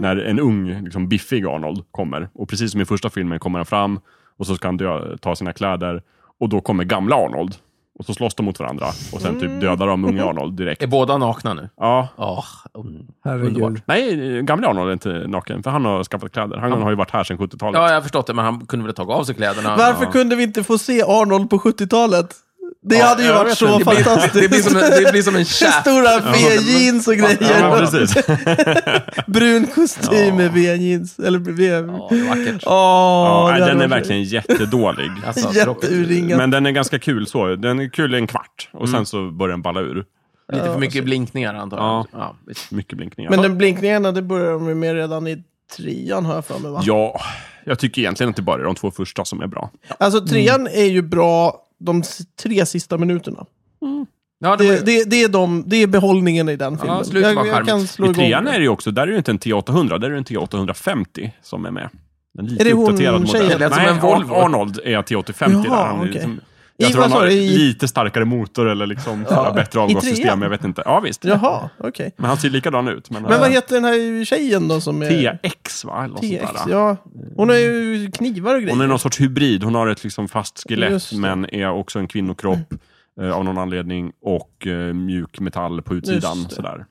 Speaker 2: När en ung, liksom, biffig Arnold kommer. Och precis som i första filmen kommer han fram och så ska han dö, ta sina kläder. Och då kommer gamla Arnold. Och så slåss de mot varandra. Och sen typ dödar de unga Arnold direkt.
Speaker 3: Är båda nakna nu?
Speaker 2: Ja.
Speaker 3: Ja. mm.
Speaker 4: Herregud.
Speaker 3: Underbart.
Speaker 2: Nej, eh, gamla Arnold är inte naken, för han har skaffat kläder. Han har ju varit här sedan 70-talet.
Speaker 3: Ja, jag har förstått det, men han kunde väl ta av sig kläderna.
Speaker 1: Varför
Speaker 3: Ja.
Speaker 1: kunde vi inte få se Arnold på 70-talet? Det
Speaker 2: Ja,
Speaker 1: hade ju
Speaker 2: jag
Speaker 1: varit
Speaker 2: vet
Speaker 1: så
Speaker 2: inte.
Speaker 1: fantastiskt.
Speaker 3: Det blir som en, det blir som en shaft.
Speaker 1: Stora V-jeans och grejer.
Speaker 2: Ja, men precis.
Speaker 1: Brun kostym
Speaker 2: Ja.
Speaker 1: med V-jeans. Eller V...
Speaker 3: Ja, det är vackert.
Speaker 1: Åh,
Speaker 2: Ja,
Speaker 1: det
Speaker 2: nej,
Speaker 1: hade
Speaker 2: den är
Speaker 1: varit-
Speaker 2: verkligen jättedålig.
Speaker 3: Alltså, tråkigt.
Speaker 1: Jätteurringad.
Speaker 2: Men den är ganska kul så. Den är kul i en kvart och
Speaker 1: Mm.
Speaker 2: sen så börjar den balla ur.
Speaker 3: Lite för mycket blinkningar, antar jag.
Speaker 2: Ja.
Speaker 3: Ja, visst.
Speaker 2: Mycket blinkningar.
Speaker 1: Men den blinkningarna, det började de ju med redan i trean har jag för mig va?
Speaker 2: Ja, jag tycker egentligen inte bara det är de två första som är bra.
Speaker 1: Alltså trean är ju bra de s- tre sista minuterna.
Speaker 3: ja det, var
Speaker 1: Det,
Speaker 3: ju-
Speaker 1: det, det, är, de, det är behållningen i den filmen.
Speaker 3: slutet var
Speaker 1: jag, jag
Speaker 3: charmigt.
Speaker 1: kan
Speaker 2: I
Speaker 1: slå igång.
Speaker 2: trean är det ju också, där är det ju inte en T800, där är det en T850 som är med. En lite
Speaker 1: Är det hon
Speaker 2: uppdaterad
Speaker 1: tjejen?
Speaker 2: modell.
Speaker 1: Det lät
Speaker 3: som en
Speaker 2: Ar-
Speaker 3: Volvo.
Speaker 2: Arnold är T850
Speaker 1: Jaha,
Speaker 2: där. Han är
Speaker 1: okej.
Speaker 2: liksom,
Speaker 1: I-
Speaker 2: jag tror
Speaker 1: vad
Speaker 2: han har
Speaker 1: sa du? I-
Speaker 2: lite starkare motor eller liksom så här bättre avgassystem,
Speaker 1: trean?
Speaker 2: jag vet inte. Ja, visst.
Speaker 1: Jaha, okej.
Speaker 2: Men han ser likadan ut. Men,
Speaker 1: Men vad heter den här tjejen då som är...
Speaker 2: TX va? Eller något sånt
Speaker 1: TX,
Speaker 2: där.
Speaker 1: ja. Hon har ju knivar och grejer.
Speaker 2: Hon är någon sorts hybrid. Hon har ett liksom fast
Speaker 1: Just
Speaker 2: skelett
Speaker 1: det.
Speaker 2: men är också en kvinnokropp eh, av någon anledning och eh, mjuk metall på utsidan.
Speaker 1: Just det.
Speaker 2: Sådär.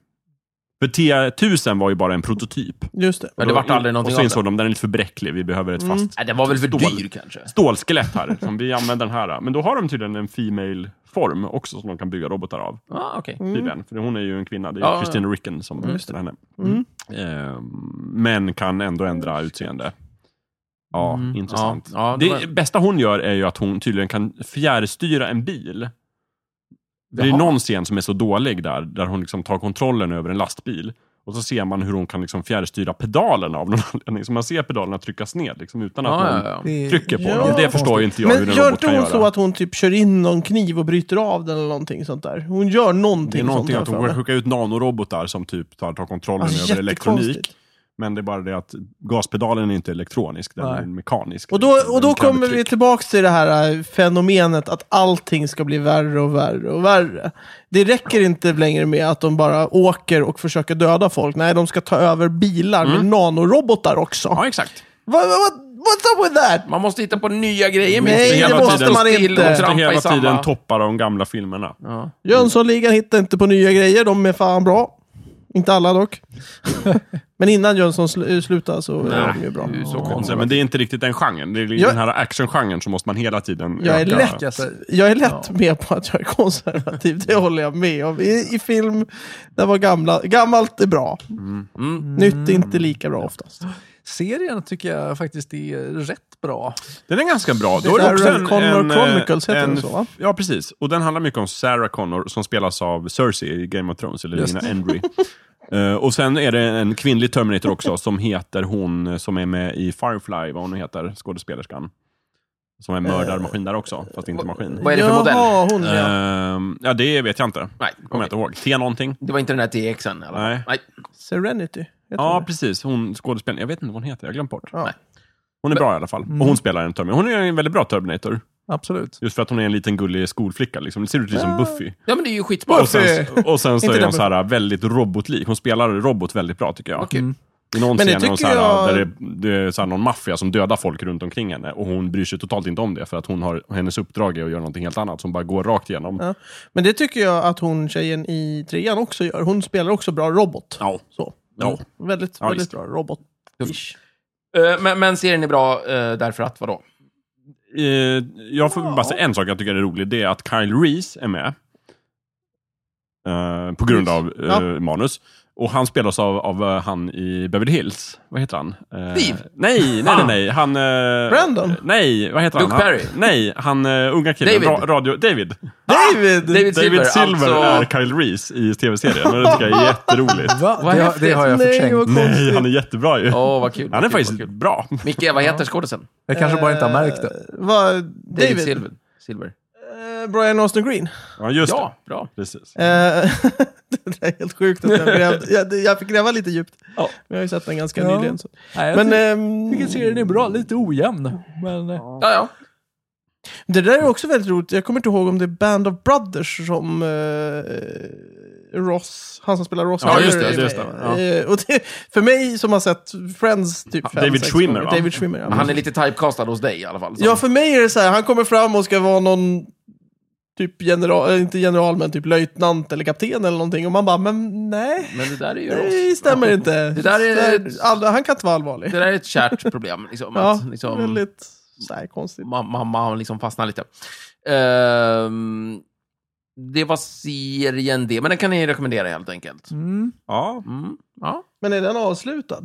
Speaker 2: För T1000 var ju bara en prototyp.
Speaker 1: Just det.
Speaker 3: men det vart aldrig
Speaker 2: och
Speaker 3: någonting
Speaker 2: så
Speaker 3: av
Speaker 2: insåg
Speaker 3: det.
Speaker 2: de den är lite för bräcklig. Vi behöver ett
Speaker 1: Mm.
Speaker 2: fast
Speaker 3: Nej, den var väl för
Speaker 2: Stål.
Speaker 3: dyr, kanske.
Speaker 2: stålskelett här. Som vi använder den här. Men då har de tydligen en female form också som de kan bygga robotar av.
Speaker 3: Ah, okej.
Speaker 1: Mm.
Speaker 2: Tydligen. För hon är ju en kvinna. Det är
Speaker 3: Ja, ja.
Speaker 2: Christina Ricken som spelar henne.
Speaker 1: Mm.
Speaker 2: Eh, men kan ändå ändra utseende. Ja, intressant.
Speaker 3: Mm. Ja, ja, det
Speaker 2: det
Speaker 3: var-
Speaker 2: bästa hon gör är ju att hon tydligen kan fjärrstyra en bil. Det är
Speaker 3: Jaha.
Speaker 2: någon scen som är så dålig där, där hon liksom tar kontrollen över en lastbil. Och så ser man hur hon kan liksom fjärrstyra pedalerna av någon anledning. Så man ser pedalerna tryckas ned liksom, utan att
Speaker 3: Ja,
Speaker 2: någon
Speaker 3: ja, ja.
Speaker 4: Det är-
Speaker 2: trycker på
Speaker 1: Ja.
Speaker 2: dem. Det förstår ju inte jag hur
Speaker 1: Men
Speaker 2: en
Speaker 1: gör
Speaker 2: robot
Speaker 1: inte
Speaker 2: kan
Speaker 1: hon
Speaker 2: göra.
Speaker 1: så att hon typ kör in någon kniv och bryter av den eller någonting sånt där? Hon gör någonting
Speaker 2: det är någonting att
Speaker 1: sånt
Speaker 2: hon skickar ut nanorobotar som typ tar, tar kontrollen
Speaker 1: Alltså,
Speaker 2: över elektronik.
Speaker 1: jättekonstigt.
Speaker 2: Men det är bara det att gaspedalen är inte elektronisk, den
Speaker 4: Nej.
Speaker 2: är mekanisk.
Speaker 1: Och då, och då
Speaker 2: Den kräver
Speaker 1: kommer vi
Speaker 2: tryck.
Speaker 1: tillbaka till det här äh, fenomenet att allting ska bli värre och värre och värre. Det räcker inte längre med att de bara åker och försöker döda folk. Nej, de ska ta över bilar med nanorobotar också.
Speaker 2: Ja, exakt.
Speaker 1: Vad- vad- what's up with that?
Speaker 3: Man måste hitta på nya
Speaker 1: Nej,
Speaker 3: grejer. minst.
Speaker 1: det
Speaker 3: Hela
Speaker 1: måste
Speaker 3: tiden
Speaker 1: man
Speaker 3: stå still
Speaker 1: inte.
Speaker 3: och
Speaker 1: Det är
Speaker 2: Trampa
Speaker 3: trampa i
Speaker 2: hela
Speaker 3: samma-
Speaker 2: tiden toppar de gamla filmerna.
Speaker 3: Ja.
Speaker 1: Jönssonligan hittar inte på nya grejer, de är fan bra. Inte alla dock. Men innan Jönsson sl- slutade så är de ju bra.
Speaker 3: du är så
Speaker 2: Så,
Speaker 3: konstig.
Speaker 2: Men det är inte riktigt den genren. Det är
Speaker 1: Jag-
Speaker 2: den här actiongenren som måste man hela tiden
Speaker 1: Jag är
Speaker 2: öka.
Speaker 1: lätt-
Speaker 4: Jag säger-
Speaker 1: Jag är lätt med på att jag är konservativ, det håller jag med om. I, i film, där var gamla, gammalt är bra.
Speaker 3: Mm.
Speaker 1: Nytt är inte lika bra oftast.
Speaker 4: Serien tycker jag faktiskt är rätt bra.
Speaker 2: Den är ganska bra.
Speaker 1: är
Speaker 2: Då är det också
Speaker 1: Sarah
Speaker 2: en,
Speaker 1: Connor
Speaker 2: en, eh,
Speaker 1: Chronicles heter
Speaker 2: en,
Speaker 1: den så, va?
Speaker 2: Ja, precis. Och den handlar mycket om Sarah Connor som spelas av Cersei i Game of Thrones, eller
Speaker 4: Just
Speaker 2: Lina Endry. Eh, och sen är det en kvinnlig Terminator också som heter hon som är med i Firefly, vad hon nu heter, skådespelerskan. Som är mördarmaskin där också, fast
Speaker 1: Eh,
Speaker 2: inte maskin.
Speaker 3: Vad är det för modell?
Speaker 1: Jaha, hon ja.
Speaker 2: Ehm, ja, det vet jag inte. Kommer
Speaker 3: Nej,
Speaker 2: jag inte ihåg. T någonting?
Speaker 3: det var inte den där TXen? Eller?
Speaker 2: Nej.
Speaker 3: Nej.
Speaker 1: Serenity. heter
Speaker 2: Ja,
Speaker 1: hon.
Speaker 2: precis. Hon skådespelaren. Jag vet inte vad hon heter. Jag har glömt bort.
Speaker 1: Ja. Mm.
Speaker 3: Nej.
Speaker 2: Hon är bra i alla fall. Och hon spelar en Terminator. Hon är en väldigt bra Terminator.
Speaker 4: Absolut.
Speaker 2: Just för att hon är en liten gullig skolflicka. Liksom. Det ser ut lite som Buffy.
Speaker 3: Ja, men det är ju skitbra.
Speaker 2: Och sen, och sen så
Speaker 1: Inte
Speaker 2: är hon
Speaker 1: den
Speaker 2: så här äh, väldigt robotlik. Hon spelar robot väldigt bra tycker jag.
Speaker 1: Mm.
Speaker 3: Okej.
Speaker 2: I någon
Speaker 1: Men det
Speaker 2: scen är hon så
Speaker 1: tycker
Speaker 2: här,
Speaker 1: jag-
Speaker 2: där det, det är så här någon maffia som dödar folk runt omkring henne. Och hon bryr sig totalt inte om det. För att hon har, hennes uppdrag är att göra någonting helt annat. Som bara går rakt igenom.
Speaker 1: Ja. Men det tycker jag att hon tjejen i trean också gör. Hon spelar också bra robot.
Speaker 2: Ja.
Speaker 1: Så.
Speaker 2: Ja.
Speaker 1: Väldigt,
Speaker 2: Ja,
Speaker 1: väldigt
Speaker 2: visst.
Speaker 1: bra robot.
Speaker 3: Eh, Men, men serien är bra eh, därför att vadå?
Speaker 2: Eh, jag får bara säga en sak jag tycker är rolig. Det är att Kyle Reese är med. Eh, på grund av eh,
Speaker 1: Ja.
Speaker 2: manus. Och han spelas av, av eh, han i Beverly Hills. Vad heter han? Eh,
Speaker 3: Steve. Ah.
Speaker 2: Nej, nej, nej, nej. Han... eh,
Speaker 1: Brandon?
Speaker 2: Nej, vad heter
Speaker 3: Luke
Speaker 2: han? Han-
Speaker 3: Perry?
Speaker 2: Nej, han uh, unga killen.
Speaker 3: David.
Speaker 2: Ra- radio, David.
Speaker 1: Ah! David!
Speaker 3: David Silver,
Speaker 2: David Silver
Speaker 3: alltså...
Speaker 2: är Kyle Reese i tv-serien. Och Det tycker jag är jätteroligt.
Speaker 4: Va?
Speaker 3: Vad
Speaker 4: det, har,
Speaker 3: häftigt.
Speaker 4: det har jag
Speaker 1: Nej,
Speaker 4: förträngt.
Speaker 1: vad
Speaker 2: nej,
Speaker 1: konstigt.
Speaker 2: han är jättebra ju.
Speaker 3: Åh, vad kul.
Speaker 2: han är
Speaker 3: vad kul,
Speaker 2: faktiskt
Speaker 3: vad kul.
Speaker 2: bra.
Speaker 3: Micke, vad heter skådisen?
Speaker 4: Jag kanske bara inte har märkt det.
Speaker 1: Eh, Vad-
Speaker 3: David,
Speaker 1: David?
Speaker 3: Silver. Silver.
Speaker 1: Eh, Brian Austin Green.
Speaker 2: Ja, just
Speaker 3: Ja, bra.
Speaker 2: det. Precis.
Speaker 1: Eh, det där är helt sjukt att jag grävde. Jag, jag fick gräva lite djupt.
Speaker 4: Ja. eh,
Speaker 1: Men jag har ju sett den ganska
Speaker 4: Ja.
Speaker 1: nyligen. Så.
Speaker 4: Nej, jag
Speaker 1: Men
Speaker 4: ty-
Speaker 1: ehm,
Speaker 4: tycker serien är bra. Lite ojämn. Men, eh,
Speaker 3: Ja, ja.
Speaker 1: det där är också väldigt roligt. Jag kommer inte ihåg om det är Band of Brothers som eh, Ross, han som spelar Ross.
Speaker 2: Ja,
Speaker 3: just det,
Speaker 1: Geller är
Speaker 2: just
Speaker 1: med.
Speaker 2: det,
Speaker 1: Eh, och det. För mig som har sett Friends typ fem,
Speaker 2: David
Speaker 1: sex
Speaker 2: Schwimmer,
Speaker 1: gånger.
Speaker 2: va?
Speaker 1: David Schwimmer, ja.
Speaker 3: Han är lite typecastad hos dig i alla fall. som-
Speaker 1: Ja, för mig är det så här, han kommer fram och ska vara någon typ general, eh, inte general, men typ löjtnant eller kapten eller någonting. Och man bara, men nej,
Speaker 3: Men det där är ju
Speaker 1: det
Speaker 3: oss.
Speaker 1: stämmer inte.
Speaker 3: Det där är-
Speaker 1: Det där- all- han kan inte vara allvarlig.
Speaker 3: Det där är ett kärt problem. Liksom,
Speaker 1: Ja,
Speaker 3: att, liksom,
Speaker 1: väldigt så här, konstigt.
Speaker 3: ma- mamma liksom fastnar lite. Ehm, det var serien det, men den kan ni rekommendera helt enkelt.
Speaker 4: mm.
Speaker 2: Ja,
Speaker 3: Mm, ja.
Speaker 1: Men är den avslutad?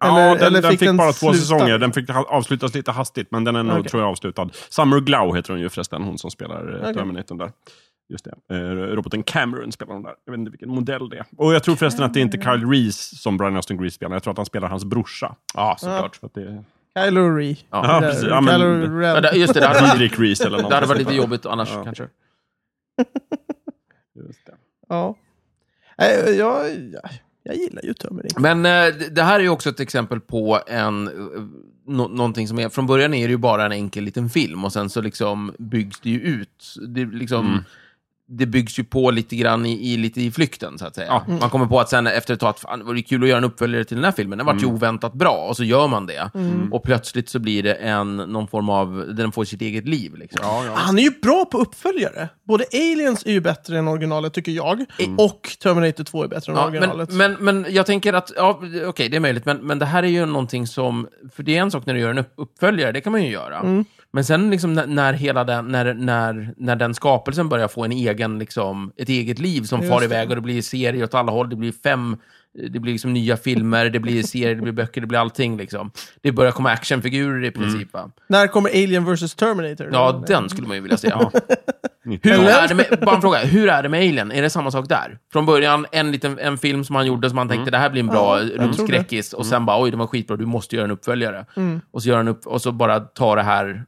Speaker 2: Ja,
Speaker 1: Eller-
Speaker 2: den,
Speaker 1: eller
Speaker 2: den
Speaker 1: fick
Speaker 2: fick,
Speaker 1: den
Speaker 2: bara två
Speaker 1: sluta?
Speaker 2: säsonger. Den fick ha- avslutas lite hastigt, men den är nog,
Speaker 1: Okej.
Speaker 2: tror jag, avslutad. Summer Glau heter hon ju förresten, hon som spelar okay.
Speaker 1: Okej.
Speaker 2: Terminatorn där. Just det. Eh, roboten Cameron spelar hon där. Jag vet inte vilken modell det är. Och jag tror förresten att det är inte Kyle Reese som Brian Austin Grease spelar. Jag tror att han spelar hans brorsa.
Speaker 3: ja, såklart.
Speaker 2: Så att det är...
Speaker 1: Kylo Ree.
Speaker 2: Ja, precis. Ja, men-
Speaker 1: Kylo
Speaker 3: Men
Speaker 1: Ren.
Speaker 3: det- Just det, det hade varit,
Speaker 2: Didrik Reese eller något.
Speaker 3: det hade varit lite
Speaker 2: sånt där.
Speaker 3: jobbigt annars
Speaker 2: Ja.
Speaker 3: kanske.
Speaker 2: Just det.
Speaker 1: Ja. Nej, Jag, jag, jag gillar ju Tömmerring.
Speaker 3: Men eh, det- det här är ju också ett exempel på en, eh, nå- någonting som är, från början är det ju bara en enkel liten film och sen så liksom byggs det ju ut. Det, liksom,
Speaker 2: Mm.
Speaker 3: det byggs ju på lite grann i, i, lite i flykten, så att säga.
Speaker 2: Ja.
Speaker 3: Man kommer på att sen efter ett tag, att fan, det vore kul att göra en uppföljare till den här filmen. Den vart
Speaker 2: Mm.
Speaker 3: ju oväntat bra och så gör man det. Och plötsligt så blir det en, någon form av, den får sitt eget liv. Liksom.
Speaker 2: Ja, ja.
Speaker 1: Han är ju bra på uppföljare. Både Aliens är ju bättre än originalet, tycker jag. Och Terminator 2 är bättre än
Speaker 3: Ja, men,
Speaker 1: originalet.
Speaker 3: men, men jag tänker att, ja, okej, det är möjligt, men, men det här är ju någonting som, för det är en sak när du gör en upp, uppföljare, det kan man ju göra.
Speaker 1: Mm.
Speaker 3: Men sen liksom när, när hela den, när, när, när den skapelsen börjar få en egen, liksom, ett eget liv som
Speaker 1: Just
Speaker 3: far
Speaker 1: det.
Speaker 3: iväg och det blir serier åt alla håll, det blir fem, det blir liksom nya filmer, det blir serier, det blir böcker, det blir allting liksom. Det börjar komma actionfigurer i
Speaker 1: Mm.
Speaker 3: princip va?
Speaker 1: När kommer Alien vs Terminator?
Speaker 3: Ja, den skulle man ju vilja se.
Speaker 2: Nitton.
Speaker 3: Hur är det med, bara en fråga, hur är det med Alien? Är det samma sak där? Från början, en liten en film som han gjorde som han tänkte, det här blir en bra
Speaker 1: Mm. Ja, jag Mm.
Speaker 3: rumskräckis, och sen bara, oj, den var skitbra, du måste göra en uppföljare. Och, så gör han upp, och så bara tar det här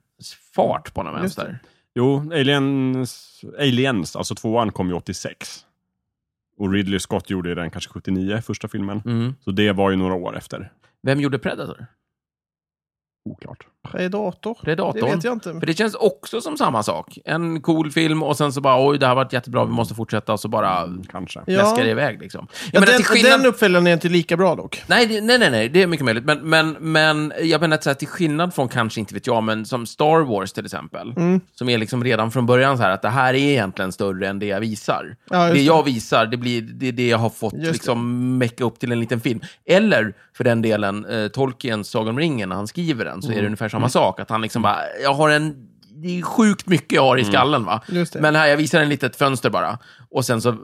Speaker 3: fart på någon
Speaker 1: Just det.
Speaker 3: vänster.
Speaker 2: Jo, Aliens, Aliens, alltså tvåan kom ju 86. Och Ridley Scott gjorde ju den kanske 79, första filmen.
Speaker 3: Mm.
Speaker 2: Så det var ju några år efter.
Speaker 3: Vem gjorde Predator?
Speaker 2: Oklart.
Speaker 1: Vad är dator?
Speaker 3: Predatorn.
Speaker 1: Det vet jag inte.
Speaker 3: För det känns också som samma sak. En cool film och sen så bara, oj, det här varit jättebra, vi måste fortsätta, och så bara
Speaker 2: Kanske.
Speaker 1: Ja.
Speaker 3: läskar det iväg liksom. Jag
Speaker 1: Ja,
Speaker 3: menar,
Speaker 1: den,
Speaker 3: till skillnad-
Speaker 1: den uppföljaren är inte lika bra dock.
Speaker 3: Nej, det- nej, nej, nej, det är mycket möjligt. Men, men, men jag menar att så här, till skillnad från, kanske inte vet jag, men som Star Wars till exempel,
Speaker 1: Mm.
Speaker 3: som är liksom redan från början så här att det här är egentligen större än det jag visar.
Speaker 1: Ja,
Speaker 3: det
Speaker 1: just det.
Speaker 3: jag visar, det blir det, är det jag har fått
Speaker 1: Just det.
Speaker 3: liksom mecka upp till en liten film. Eller för den delen, eh, Tolkiens Sagan om ringen, när han skriver den, så
Speaker 1: Mm.
Speaker 3: är det ungefär samma sak. Att han liksom bara, jag har en det är sjukt mycket jag har i skallen. Va?
Speaker 1: Mm. Just det.
Speaker 3: Men här, jag visar en litet fönster bara. Och sen så,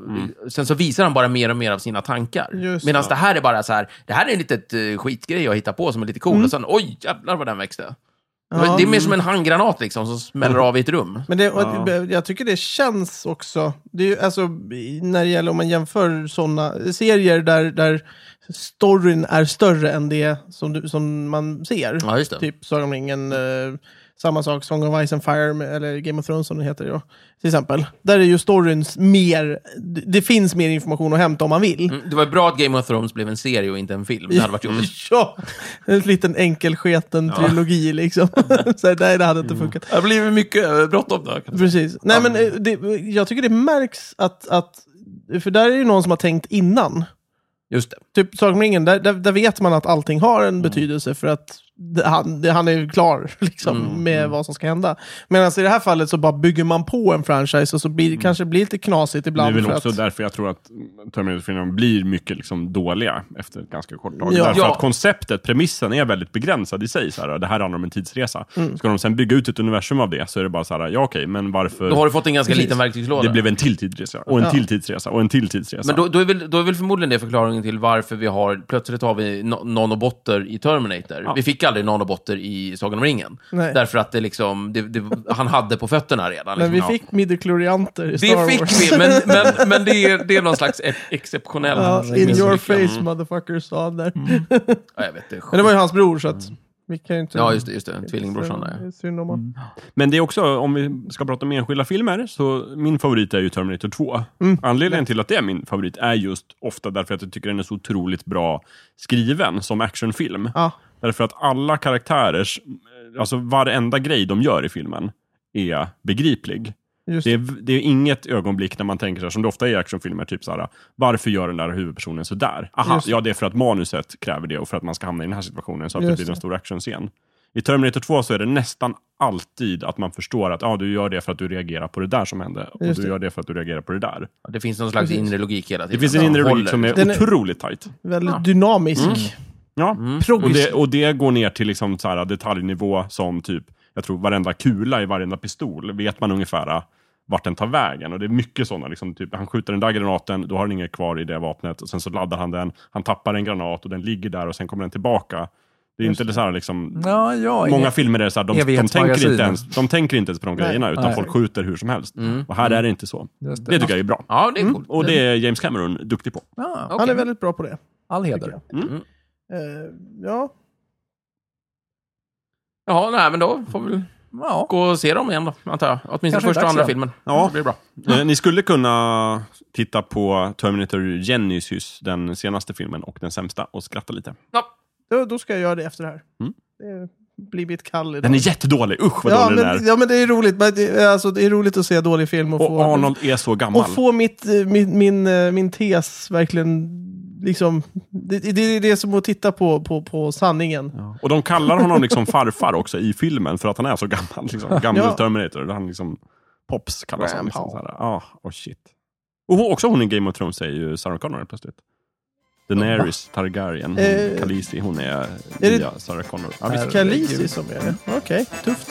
Speaker 3: sen så visar han bara mer och mer av sina tankar.
Speaker 1: Just
Speaker 3: Medan det här är bara så här, det här är en litet eh, skitgrej jag hittar på som är lite cool. Och sen, oj, jävlar vad den växte. Det var-
Speaker 1: Ja.
Speaker 3: Det är mer som en handgranat liksom, som smäller av i ett rum.
Speaker 1: Men det, och
Speaker 2: Ja.
Speaker 1: det- jag tycker det känns också, det är ju, alltså, i- när det gäller om man jämför sådana serier där, där storyn är större än det som, du, som man ser.
Speaker 3: Ja, just det.
Speaker 1: Typ Sagan om ringen, eh, Samma sak Song of Ice and Fire, med, eller Game of Thrones som den heter. Ja, till exempel. Där är ju storyn mer... d- Det finns mer information att hämta om man vill.
Speaker 3: Mm, Det var bra att Game of Thrones blev en serie och inte en film. Det hade varit jobbigt.
Speaker 1: Ja, en liten enkelsketen trilogi liksom. Så här, nej, det hade inte funkat.
Speaker 3: Det blir mycket eh, bråttom då.
Speaker 1: Precis. Nej, men eh, det, jag tycker det märks att, att... För där är ju någon som har tänkt innan.
Speaker 3: Just det.
Speaker 1: Typ Sagan om ringen, där, där, där vet man att allting har
Speaker 3: Mm.
Speaker 1: en betydelse för att det, han, det, han är ju klar liksom,
Speaker 3: Mm,
Speaker 1: med vad som ska hända. Medan i det här fallet så bara bygger man på en franchise och så
Speaker 3: Mm.
Speaker 1: blir, kanske blir lite knasigt
Speaker 2: Det är
Speaker 1: ibland.
Speaker 2: väl
Speaker 1: för
Speaker 2: också
Speaker 1: att,
Speaker 2: därför jag tror att Terminator-filmerna blir mycket liksom dåliga efter ett ganska kort tag.
Speaker 1: Ja.
Speaker 2: Därför
Speaker 3: Ja.
Speaker 2: att konceptet, premissen, är väldigt begränsad i sig. Så här, det här handlar om en tidsresa.
Speaker 1: Mm.
Speaker 2: Ska de sen bygga ut ett universum av det så är det bara så här, ja okej, men varför...
Speaker 3: Då har du fått en ganska
Speaker 1: Precis.
Speaker 3: liten verktygslåda.
Speaker 2: Det blev en till tidsresa, och en till tidsresa, och en till tidsresa.
Speaker 3: Men då, då, är väl, då är väl förmodligen det förklaringen till varför vi har, plötsligt har vi no- nanobotter i Terminator. Vi fick aldrig nanobotter i Sagan om ringen.
Speaker 1: Nej.
Speaker 3: Därför att det liksom, det, det, han hade på fötterna redan.
Speaker 1: men
Speaker 3: Liksom.
Speaker 1: vi
Speaker 3: Ja.
Speaker 1: fick midichlorianter i Star
Speaker 3: det
Speaker 1: Wars.
Speaker 3: fick vi, men, men, men det, är, det är någon slags e- exceptionell
Speaker 1: Ja, in
Speaker 3: misslyckande.
Speaker 1: your face motherfuckers sa han där.
Speaker 3: Mm. Ja, jag vet, det är
Speaker 1: Men det var ju hans bror så att vi kan ju inte...
Speaker 3: Mm. Ja, just det. Just det. Tvillingbrorsan.
Speaker 1: Så-
Speaker 3: där,
Speaker 1: det
Speaker 3: Ja. Mm.
Speaker 1: är synd om honom.
Speaker 2: Men det är också, om vi ska prata om enskilda filmer, så min favorit är ju Terminator 2.
Speaker 1: Mm.
Speaker 2: Anledningen till att det är min favorit är just ofta därför att jag tycker den är så otroligt bra skriven som actionfilm.
Speaker 1: Ja.
Speaker 2: Därför att alla karaktärers, eh, alltså varenda grej de gör i filmen är begriplig.
Speaker 1: Just
Speaker 2: Det är, det är inget ögonblick när man tänker så här, som det ofta är i actionfilmer, typ så här, varför gör den där huvudpersonen så där? Aha,
Speaker 1: Just det.
Speaker 2: ja det är för att manuset kräver det och för att man ska hamna i den här situationen så att
Speaker 1: Just
Speaker 2: det blir
Speaker 1: det.
Speaker 2: en stor actionscen. I Terminator 2 så är det nästan alltid att man förstår att ah, du gör det för att du reagerar på det där som hände och
Speaker 1: Just
Speaker 2: du
Speaker 1: det.
Speaker 2: gör det för att du reagerar på det där.
Speaker 3: Det finns någon slags
Speaker 1: Precis.
Speaker 3: inre logik hela tiden.
Speaker 2: Det finns en
Speaker 3: Ja,
Speaker 2: inre logik
Speaker 3: håller. liksom.
Speaker 2: som är,
Speaker 1: Den är-
Speaker 2: otroligt tajt.
Speaker 1: Väldigt dynamisk.
Speaker 3: Mm.
Speaker 2: Ja. Mm. Och,
Speaker 1: Progressiv.
Speaker 2: det, och det går ner till liksom så här detaljnivå som typ, jag tror varenda kula i varenda pistol vet man ungefär ah, vart den tar vägen. Och det är mycket sådana. Liksom, typ, han skjuter den där granaten, då har den inget kvar i det vapnet. Och sen så laddar han den, han tappar en granat och den ligger där och sen kommer den tillbaka. Det är inte det så här liksom...
Speaker 4: Ja, ja,
Speaker 2: Många
Speaker 4: ingen-
Speaker 2: filmer är det så här, de, de, tänker
Speaker 4: Evighetsmagasin.
Speaker 2: inte ens, de tänker inte ens på de
Speaker 1: Nej.
Speaker 2: grejerna, utan
Speaker 4: Nej.
Speaker 2: folk skjuter hur som helst. Och här är det inte så. Det
Speaker 4: Just det.
Speaker 2: tycker jag är bra.
Speaker 3: Ja, det är coolt.
Speaker 2: Mm. Och det är James Cameron duktig på.
Speaker 4: Ja,
Speaker 3: Okej.
Speaker 1: Han är väldigt bra på det.
Speaker 4: all heder.
Speaker 2: Mm.
Speaker 1: Eh, ja,
Speaker 3: Jaha, nej, men då får vi väl
Speaker 4: Ja.
Speaker 3: gå och se dem igen då, antar jag. Åtminstone
Speaker 4: Kanske
Speaker 3: första
Speaker 4: dags
Speaker 3: och andra
Speaker 4: igen.
Speaker 3: filmen.
Speaker 2: Ja.
Speaker 3: Det blir bra.
Speaker 2: Eh, Ni skulle kunna titta på Terminator Genisys, den senaste filmen, och den sämsta, och skratta lite.
Speaker 3: Ja.
Speaker 1: då, då ska jag göra det efter det här.
Speaker 2: Mm.
Speaker 1: Det blir mitt kall idag.
Speaker 2: Den är jättedålig! Usch vad
Speaker 1: ja,
Speaker 2: dålig
Speaker 1: men,
Speaker 2: den är!
Speaker 1: ja, men det är roligt. Men det, är- alltså, det är roligt att se dålig film och, få...
Speaker 2: Och Arnold är så gammal.
Speaker 1: Och få mitt, eh, min, min, eh, min tes verkligen... Liksom, det, det, det är det som att titta på, på, på sanningen.
Speaker 2: Ja. Och de kallar honom liksom farfar också i filmen, för att han är så gammal. Liksom. Gammal
Speaker 1: Ja.
Speaker 2: Terminator. Han liksom, Pops kallas han. Liksom,
Speaker 1: Grandpa.
Speaker 2: så här. Ah, oh, shit. Och hon, också hon i Game of Thrones är ju Sarah Connor plötsligt. Daenerys Targaryen, hon,
Speaker 1: Eh,
Speaker 2: Khaleesi, hon är,
Speaker 1: det-
Speaker 2: nya Sarah Connor. Ja, visst.
Speaker 1: Kalisi som är det. Okej, tufft.